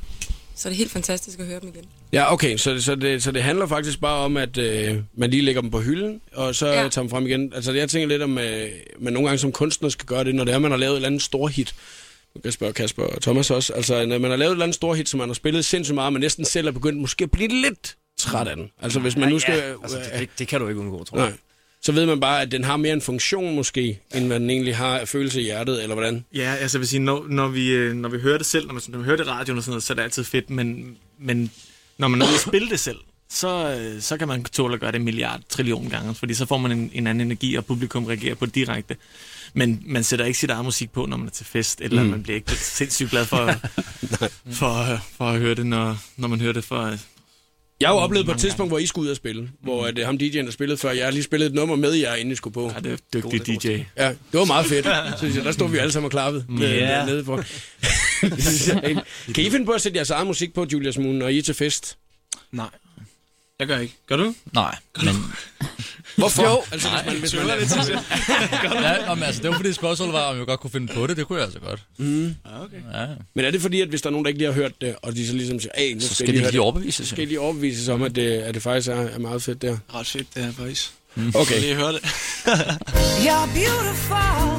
Speaker 10: så er det helt fantastisk at høre dem igen.
Speaker 2: Ja, okay, så, så, det, så det handler faktisk bare om, at øh, man lige lægger dem på hylden, og så ja.
Speaker 10: Ja.
Speaker 2: tager dem frem igen. Altså, jeg tænker lidt om, øh, man nogle gange som kunstner skal gøre det, når det er, man har lavet et eller andet stor hit. Nu kan jeg spørge Kasper og Thomas også. Altså, når man har lavet et eller andet stor hit, som man har spillet sindssygt meget, men næsten selv er begyndt måske at blive lidt træt af den. Altså, hvis man nu skal...
Speaker 14: Ja, altså, det, det, det kan du ikke undgå, tror jeg.
Speaker 2: nej, så ved man bare, at den har mere en funktion måske, end hvad den egentlig har af følelse i hjertet, eller hvordan?
Speaker 9: Ja, altså jeg vil sige, når, når, vi, øh, når vi hører det selv, når man, når man hører det i radioen og sådan noget, så er det altid fedt, men, men når man er ude at spille det selv, så, øh, så kan man tåle at gøre det en milliard trillion gange, fordi så får man en, en anden energi, og publikum reagerer på det direkte. Men man sætter ikke sit eget musik på, når man er til fest, eller
Speaker 2: Mm.
Speaker 9: mm. man bliver ikke sindssygt glad for, for, øh, for at høre det, når, når man hører det for... øh,
Speaker 2: Jeg har
Speaker 14: Mm,
Speaker 2: jo oplevet på et tidspunkt, hvor I skulle ud og spille, hvor at, øh, ham DJ'en, der spillede før, jeg lige spillede et nummer med jer, inden I skulle på.
Speaker 9: Ja, det er dygtig DJ.
Speaker 2: Ja, det var meget fedt, synes jeg. Der stod vi alle sammen og klappede yeah.
Speaker 9: Ja.
Speaker 2: dernede på. kan I finde på at sætte jeres eget musik på, Julia Smoon, når I er til fest?
Speaker 11: Nej. Jeg gør ikke. Gør du?
Speaker 12: Nej, men...
Speaker 2: Hvorfor? Jo, altså,
Speaker 12: Nej,
Speaker 2: hvis man, hvis man
Speaker 11: tøver lidt til selv.
Speaker 12: Ja, om, altså, det var fordi spørgsmålet var, om jeg godt kunne finde på det. Det kunne jeg altså godt.
Speaker 2: Mm.
Speaker 11: Okay.
Speaker 12: Ja.
Speaker 2: Men er det fordi, at hvis der er nogen, der ikke lige har hørt det, og de så ligesom siger, hey, nu
Speaker 12: Så
Speaker 2: skal,
Speaker 12: skal
Speaker 2: I
Speaker 12: de
Speaker 2: høre
Speaker 12: lige
Speaker 2: det."
Speaker 12: overbevises,
Speaker 2: Så
Speaker 12: jo.
Speaker 2: skal I lige overbevises om, at det, at det faktisk er, er meget fedt
Speaker 9: Mm.
Speaker 2: der.
Speaker 11: Ret fedt, det her, boys.
Speaker 2: Okay.
Speaker 11: Lige høre det.
Speaker 13: You're beautiful.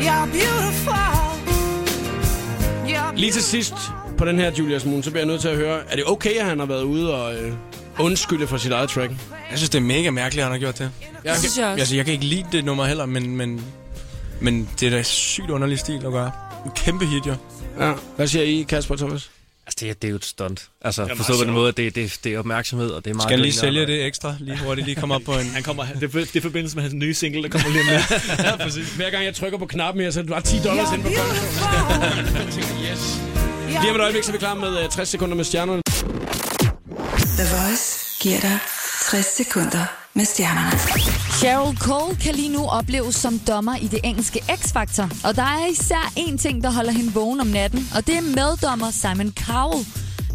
Speaker 13: You're beautiful. You're
Speaker 2: Lige til sidst på den her Julius Moon, så bliver jeg nødt til at høre, er det okay, at han har været ude og øh, undskylde for sit eget track?
Speaker 11: Jeg synes, det er mega mærkeligt, at han har gjort det. Jeg,
Speaker 10: synes jeg også.
Speaker 11: Altså, jeg kan ikke lide det nummer heller, men, men, men det er da sygt underlig stil at gøre. En kæmpe hit, jo.
Speaker 2: Ja. Hvad siger I, Kasper og Thomas?
Speaker 22: Altså, det, er- det er jo et stunt. Altså,
Speaker 11: Det er
Speaker 22: forstået på
Speaker 11: meget
Speaker 22: den måde, at det, det, det er opmærksomhed, og det er meget...
Speaker 11: Skal jeg lige
Speaker 22: grinerende.
Speaker 11: sælge det ekstra, lige hurtigt, lige komme op på en...
Speaker 9: Han kommer, det, er for- det er i forbindelse med hans nye single, der kommer lige om lidt.
Speaker 2: ja, præcis. Hver gang jeg trykker på knappen her, så er det bare 10 dollars ind på kontoen. yes. Lige om et øjeblik, så er vi klar med øh, 60 sekunder med stjernerne.
Speaker 4: The Voice giver dig 60 sekunder med stjernerne.
Speaker 3: Cheryl Cole kan lige nu opleves som dommer i det engelske X-Factor, og der er især én ting, der holder hende vågen om natten, og det er meddommer Simon Cowell.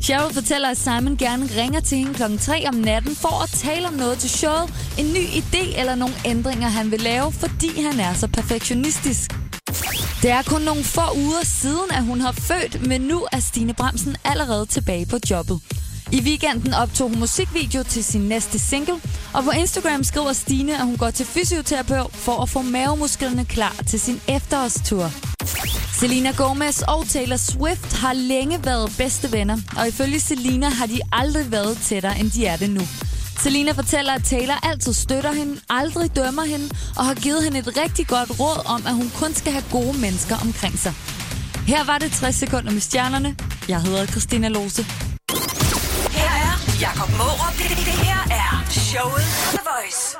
Speaker 3: Cheryl fortæller, at Simon gerne ringer til hende kl. 3 om natten for at tale om noget til showet, en ny idé eller nogle ændringer, han vil lave, fordi han er så perfektionistisk. Det er kun nogle få uger siden, at hun har født, men nu er Stine Bremsen allerede tilbage på jobbet. I weekenden optog hun musikvideo til sin næste single, og på Instagram skriver Stine, at hun går til fysioterapeut for at få mavemusklerne klar til sin efterårstur. Selena Gomez og Taylor Swift har længe været bedste venner, og ifølge Selena har de aldrig været tættere, end de er det nu. Selina fortæller, at Taylor altid støtter hende, aldrig dømmer hende, og har givet hende et rigtig godt råd om, at hun kun skal have gode mennesker omkring sig. Her var det 60 sekunder med stjernerne. Jeg hedder Christina Lose.
Speaker 5: Her er Jakob Morup. Det, det, det her er showet på The Voice.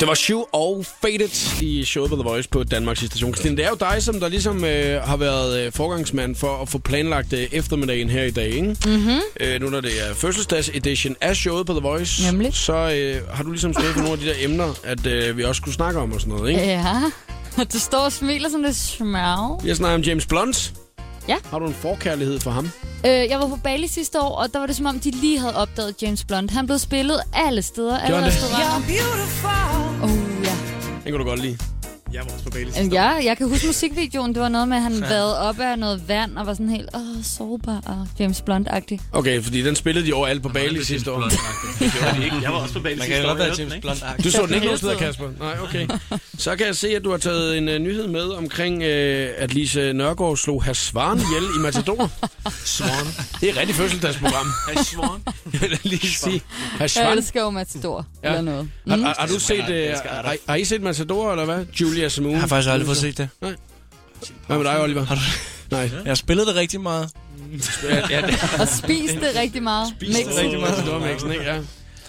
Speaker 2: Det var Shoe og Faded i showet på The Voice på Danmarks Station. Christine, det er jo dig, som der ligesom øh, har været øh, forgangsmand for at få planlagt øh, eftermiddagen her i dag, ikke?
Speaker 15: Mhm.
Speaker 2: Øh, nu når det er fødselsdags edition af showet på The Voice, Nemlig. så øh, har du ligesom stået for nogle af de der emner, at øh, vi også skulle snakke om og sådan noget, ikke?
Speaker 15: Ja, og du står og smiler som det smørv.
Speaker 2: Jeg snakker om James Blunt.
Speaker 15: Ja.
Speaker 2: Har du en forkærlighed for ham?
Speaker 15: Øh, jeg var på Bali sidste år, og der var det som om, de lige havde opdaget James Blunt. Han blev spillet alle steder, alle
Speaker 2: Gjorde han det?
Speaker 15: restauranter. Oh, ja.
Speaker 2: Den kan du godt lide. Jeg var også på Baileys.
Speaker 15: Jamen, Ja, jeg kan huske musikvideoen. Det var noget med, at han vadede op af noget vand og var sådan helt åh, sårbar og James Blunt-agtig.
Speaker 2: Okay, fordi den spillede de overalt på Bali sidste år.
Speaker 9: Det gjorde de ikke. Jeg var også på Bali
Speaker 11: Man
Speaker 9: sidste
Speaker 11: kan
Speaker 9: år,
Speaker 11: godt være
Speaker 9: jeg hørte
Speaker 11: James
Speaker 9: den, ikke?
Speaker 11: Blunt-agtig.
Speaker 2: Du så den ikke nogen steder, Kasper? Nej, okay. Så kan jeg se, at du har taget en uh, nyhed med omkring, uh, at Lise Nørgaard slog Hr. Svan ihjel i Matador. Swan. Det er et rigtigt fødselsdagsprogram. Hr. Swan. Jeg vil lige sige. Hr.
Speaker 15: Jeg
Speaker 2: Svan.
Speaker 15: elsker jo Matador
Speaker 2: Ja.
Speaker 15: ja. eller noget.
Speaker 2: Har, har, har, du set, uh,
Speaker 11: Jeg elsker
Speaker 2: har, har I set Matador, eller hvad? Julia Simone.
Speaker 11: Jeg har faktisk aldrig fået set det.
Speaker 2: Nej. Hvad med dig, Oliver? Har du... Nej.
Speaker 11: Jeg spillede det rigtig meget.
Speaker 2: Ja, det-
Speaker 15: Og spiste det rigtig meget.
Speaker 2: Spiste
Speaker 15: Mix.
Speaker 2: rigtig meget Matador-mixen, ikke? Ja.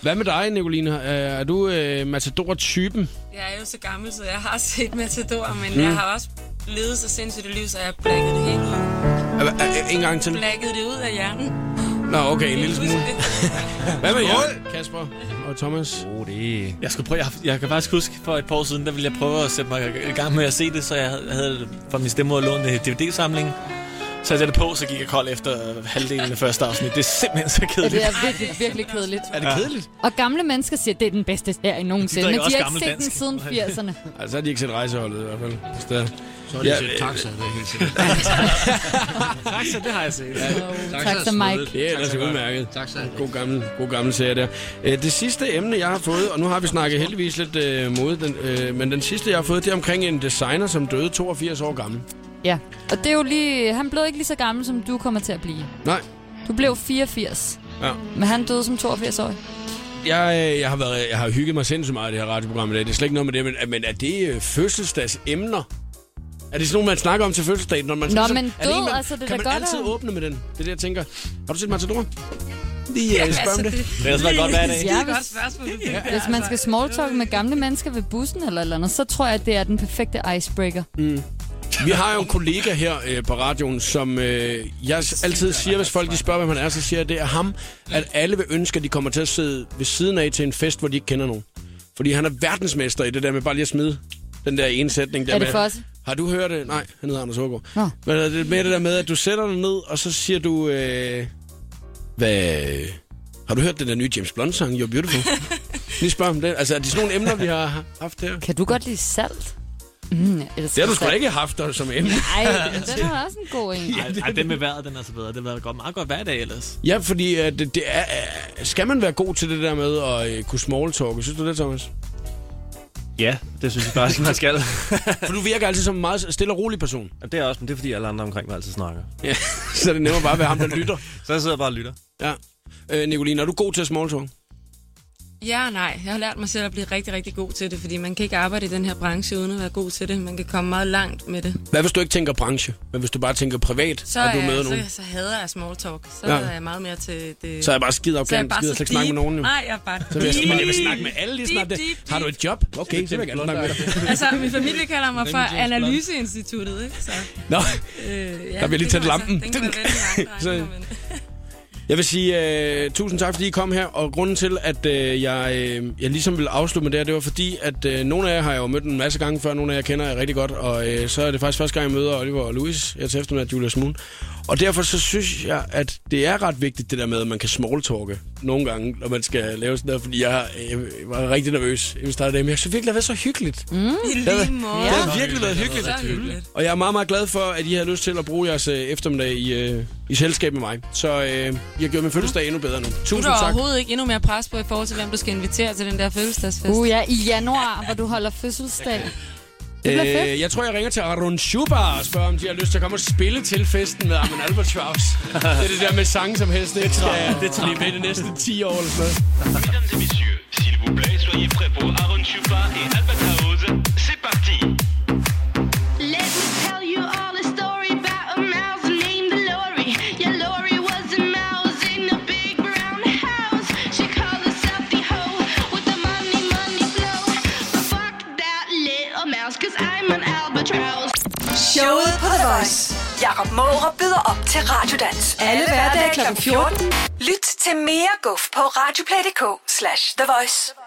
Speaker 2: Hvad med dig, Nicoline? Er- Er du øh, Matador-typen?
Speaker 10: Jeg er jo så gammel, så jeg har set Matador, men
Speaker 2: Mm.
Speaker 10: mm. jeg har også levet så sindssygt et liv, så jeg har blækket det hele ud.
Speaker 2: Er- er- er- Øh, En gang til.
Speaker 10: Blækket det ud af hjernen.
Speaker 2: Nå, okay, en lille smule. Hvad med jer,
Speaker 9: Skål!
Speaker 2: Kasper og Thomas?
Speaker 9: Oh, det... Jeg, skulle prøve, jeg, jeg kan faktisk huske, for et par år siden, der ville jeg prøve at sætte mig i gang med at se det, så jeg havde- havde fra min stemme og lånt en DVD-samling. Så satte jeg det på, så gik jeg kold efter halvdelen af første afsnit. Det er simpelthen så
Speaker 15: Ja,
Speaker 9: kedeligt.
Speaker 15: det er virkelig, virkelig kedeligt.
Speaker 2: Er det kedeligt?
Speaker 15: Og gamle mennesker siger, at det er den bedste serie nogensinde, men
Speaker 9: drikker
Speaker 15: de
Speaker 9: også
Speaker 15: har ikke set
Speaker 9: gammel
Speaker 15: den siden 80'erne.
Speaker 2: Altså, så har de ikke set rejseholdet i hvert fald. Stadig.
Speaker 9: Så har de set Taxa,
Speaker 2: det er helt sikkert.
Speaker 9: Taxa, det har jeg set.
Speaker 15: Taxa Mike.
Speaker 2: Det er ellers udmærket. God gammel, god gammel serie der. Øh, Det sidste emne, jeg har fået, og nu har vi snakket heldigvis lidt øh, mode, den, øh, men den sidste, jeg har fået, det er omkring en designer, som døde 82 år gammel.
Speaker 15: Ja, og det er jo lige... Han blev ikke lige så gammel, som du kommer til at blive.
Speaker 2: Nej.
Speaker 15: Du blev 84,
Speaker 2: Ja.
Speaker 15: men han døde som 82 år.
Speaker 2: Jeg, øh, jeg, har været, jeg har hygget mig sindssygt meget i det her radioprogram i dag. Det er slet ikke noget med det, men, men er det øh, fødselsdagsemner? Er det sådan nogle, man snakker om til fødselsdagen? Når man
Speaker 15: Nå,
Speaker 2: sådan-
Speaker 15: men
Speaker 2: er det
Speaker 15: død,
Speaker 2: en, man-
Speaker 15: altså, det er
Speaker 2: Kan
Speaker 15: da
Speaker 2: man
Speaker 15: godt,
Speaker 2: altid
Speaker 15: at-
Speaker 2: åbne med den? Det er det, jeg tænker. Har du set Matador? Lige ja,
Speaker 10: Ja,
Speaker 2: spørg om
Speaker 10: altså,
Speaker 2: det.
Speaker 10: det-
Speaker 9: Det er altså godt hver dag.
Speaker 10: Det altså. er et godt spørgsmål, du fik der,
Speaker 15: Hvis man skal smalltalke med gamle mennesker ved bussen eller et eller andet, så tror jeg, at det er den perfekte icebreaker.
Speaker 2: Mm. Vi har jo en kollega her øh, på radioen, som øh, jeg s- altid siger, hvis folk de spørger, hvem han er, så siger jeg, det er ham, at alle vil ønske, at de kommer til at sidde ved siden af til en fest, hvor de ikke kender nogen. Fordi han er verdensmester i det der med bare lige at smide den der ene sætning. Der
Speaker 15: Er det
Speaker 2: med,
Speaker 15: Fosse?
Speaker 2: Har du hørt det? Nej, han hedder Anders Hågaard.
Speaker 15: Nå.
Speaker 2: Men er det mere det der med, at du sætter dig ned, og så siger du... Øh, hvad... Har du hørt den der nye James Blunt-sang, You're Beautiful? Lige spørg om det. Altså, er det sådan nogle emner, vi har haft her?
Speaker 15: Kan du godt lide salt?
Speaker 3: Mm,
Speaker 2: Det har du sgu da ikke haft der, som emne.
Speaker 3: Nej, den er også en god en.
Speaker 23: Ej, ej, den med vejret, den er så bedre. Det var godt, meget godt hver dag ellers.
Speaker 2: Ja, fordi øh, det, det er, øh, skal man være god til det der med at øh, kunne smalltalke? Synes du det, Thomas?
Speaker 24: Ja, det synes jeg faktisk, man skal.
Speaker 2: For du virker altid som en meget stille og rolig person.
Speaker 24: Jamen, det er også, men det er fordi, alle andre omkring mig altid snakker.
Speaker 2: Ja, så er det nemmere bare at være ham, der lytter.
Speaker 24: så jeg sidder bare og lytter.
Speaker 2: Ja. Øh, Nicoline, er du god til at smalltalk?
Speaker 10: Ja og nej. Jeg har lært mig selv at blive rigtig, rigtig god til det, fordi man kan ikke arbejde i den her branche uden at være god til det. Man kan komme meget langt med det.
Speaker 2: Hvad hvis du ikke tænker branche? Hvad hvis du bare tænker privat?
Speaker 10: Så,
Speaker 2: er du
Speaker 10: jeg-
Speaker 2: med
Speaker 10: så,
Speaker 2: nogen?
Speaker 10: så hader jeg small talk. Så
Speaker 2: Ja.
Speaker 10: ja. er jeg meget mere til det...
Speaker 2: Så er jeg bare skide arrogant, gider slet ikke snakke med
Speaker 10: deep.
Speaker 2: nogen, jo.
Speaker 10: Nej, jeg er bare
Speaker 2: Så vil jeg,
Speaker 10: deep.
Speaker 2: jeg vil snakke med alle lige snart.
Speaker 10: Deep,
Speaker 2: det.
Speaker 10: deep,
Speaker 2: Har du et job? Okay, så vil jeg gerne snakke med dig.
Speaker 10: Altså, min familie kalder mig for
Speaker 2: Raymond James Blunt.
Speaker 10: Analyseinstituttet, ikke? Så,
Speaker 2: Nå,
Speaker 10: øh,
Speaker 2: Der bliver lige
Speaker 10: det
Speaker 2: tændt
Speaker 10: kan man
Speaker 2: lampen.
Speaker 10: så- den kan man vælge mange drenge,
Speaker 2: Så-
Speaker 10: når man-
Speaker 2: Jeg vil sige uh, tusind tak, fordi I kom her. Og grunden til, at uh, jeg, uh, jeg ligesom vil afslutte med det her, det var fordi, at uh, nogle af jer har jeg jo mødt en masse gange før. Nogle af jer kender jeg rigtig godt. Og uh, så er det faktisk første gang, jeg møder Oliver og Louis. Jeg til eftermiddag Julia Smoon. Og derfor så synes jeg, at det er ret vigtigt, det der med, at man kan smalltalke nogle gange, når man skal lave sådan der. Fordi jeg, øh, jeg var rigtig nervøs, inden vi startede det. Men jeg synes virkelig, det har været så hyggeligt. Mm.
Speaker 10: I
Speaker 2: Det har,
Speaker 10: lige måde.
Speaker 2: det har virkelig været hyggeligt.
Speaker 10: Så hyggeligt.
Speaker 2: Og jeg er meget, meget glad for, at I har lyst til at bruge jeres øh, eftermiddag i, øh, i selskab med mig. Så øh, I har gjort min fødselsdag endnu bedre nu.
Speaker 10: Du er
Speaker 2: Tusind
Speaker 10: der
Speaker 2: tak.
Speaker 10: overhovedet ikke endnu mere pres på i forhold til, hvem du skal invitere til den der fødselsdagsfest.
Speaker 3: Uh, ja, i januar, hvor du holder fødselsdag. bliver fedt.
Speaker 2: Øh, jeg tror, jeg ringer til Arun Schubar og spørger, om de har lyst til at komme og spille til festen med Armin Albert Schwaus. det er det der med sange, som helst ikke øh, skal
Speaker 23: det tager.
Speaker 2: blive ved de næste 10 år eller sådan noget.
Speaker 11: Mesdames et messieurs, s'il vous plaît, soyez prêts pour Aaron Chupa et Albatraoz. C'est parti
Speaker 25: Let me tell you all a story about a mouse named Lori. Yeah, Lori was a mouse in a big brown house. She called herself the hoe with the money, money flow. But fuck that little mouse, cause I'm an albatross.
Speaker 7: Showet på The Voice. Jakob Måre byder op til Radiodans. Alle hverdage kl. 14. Lyt til mere guf på radioplay.dk slash The Voice.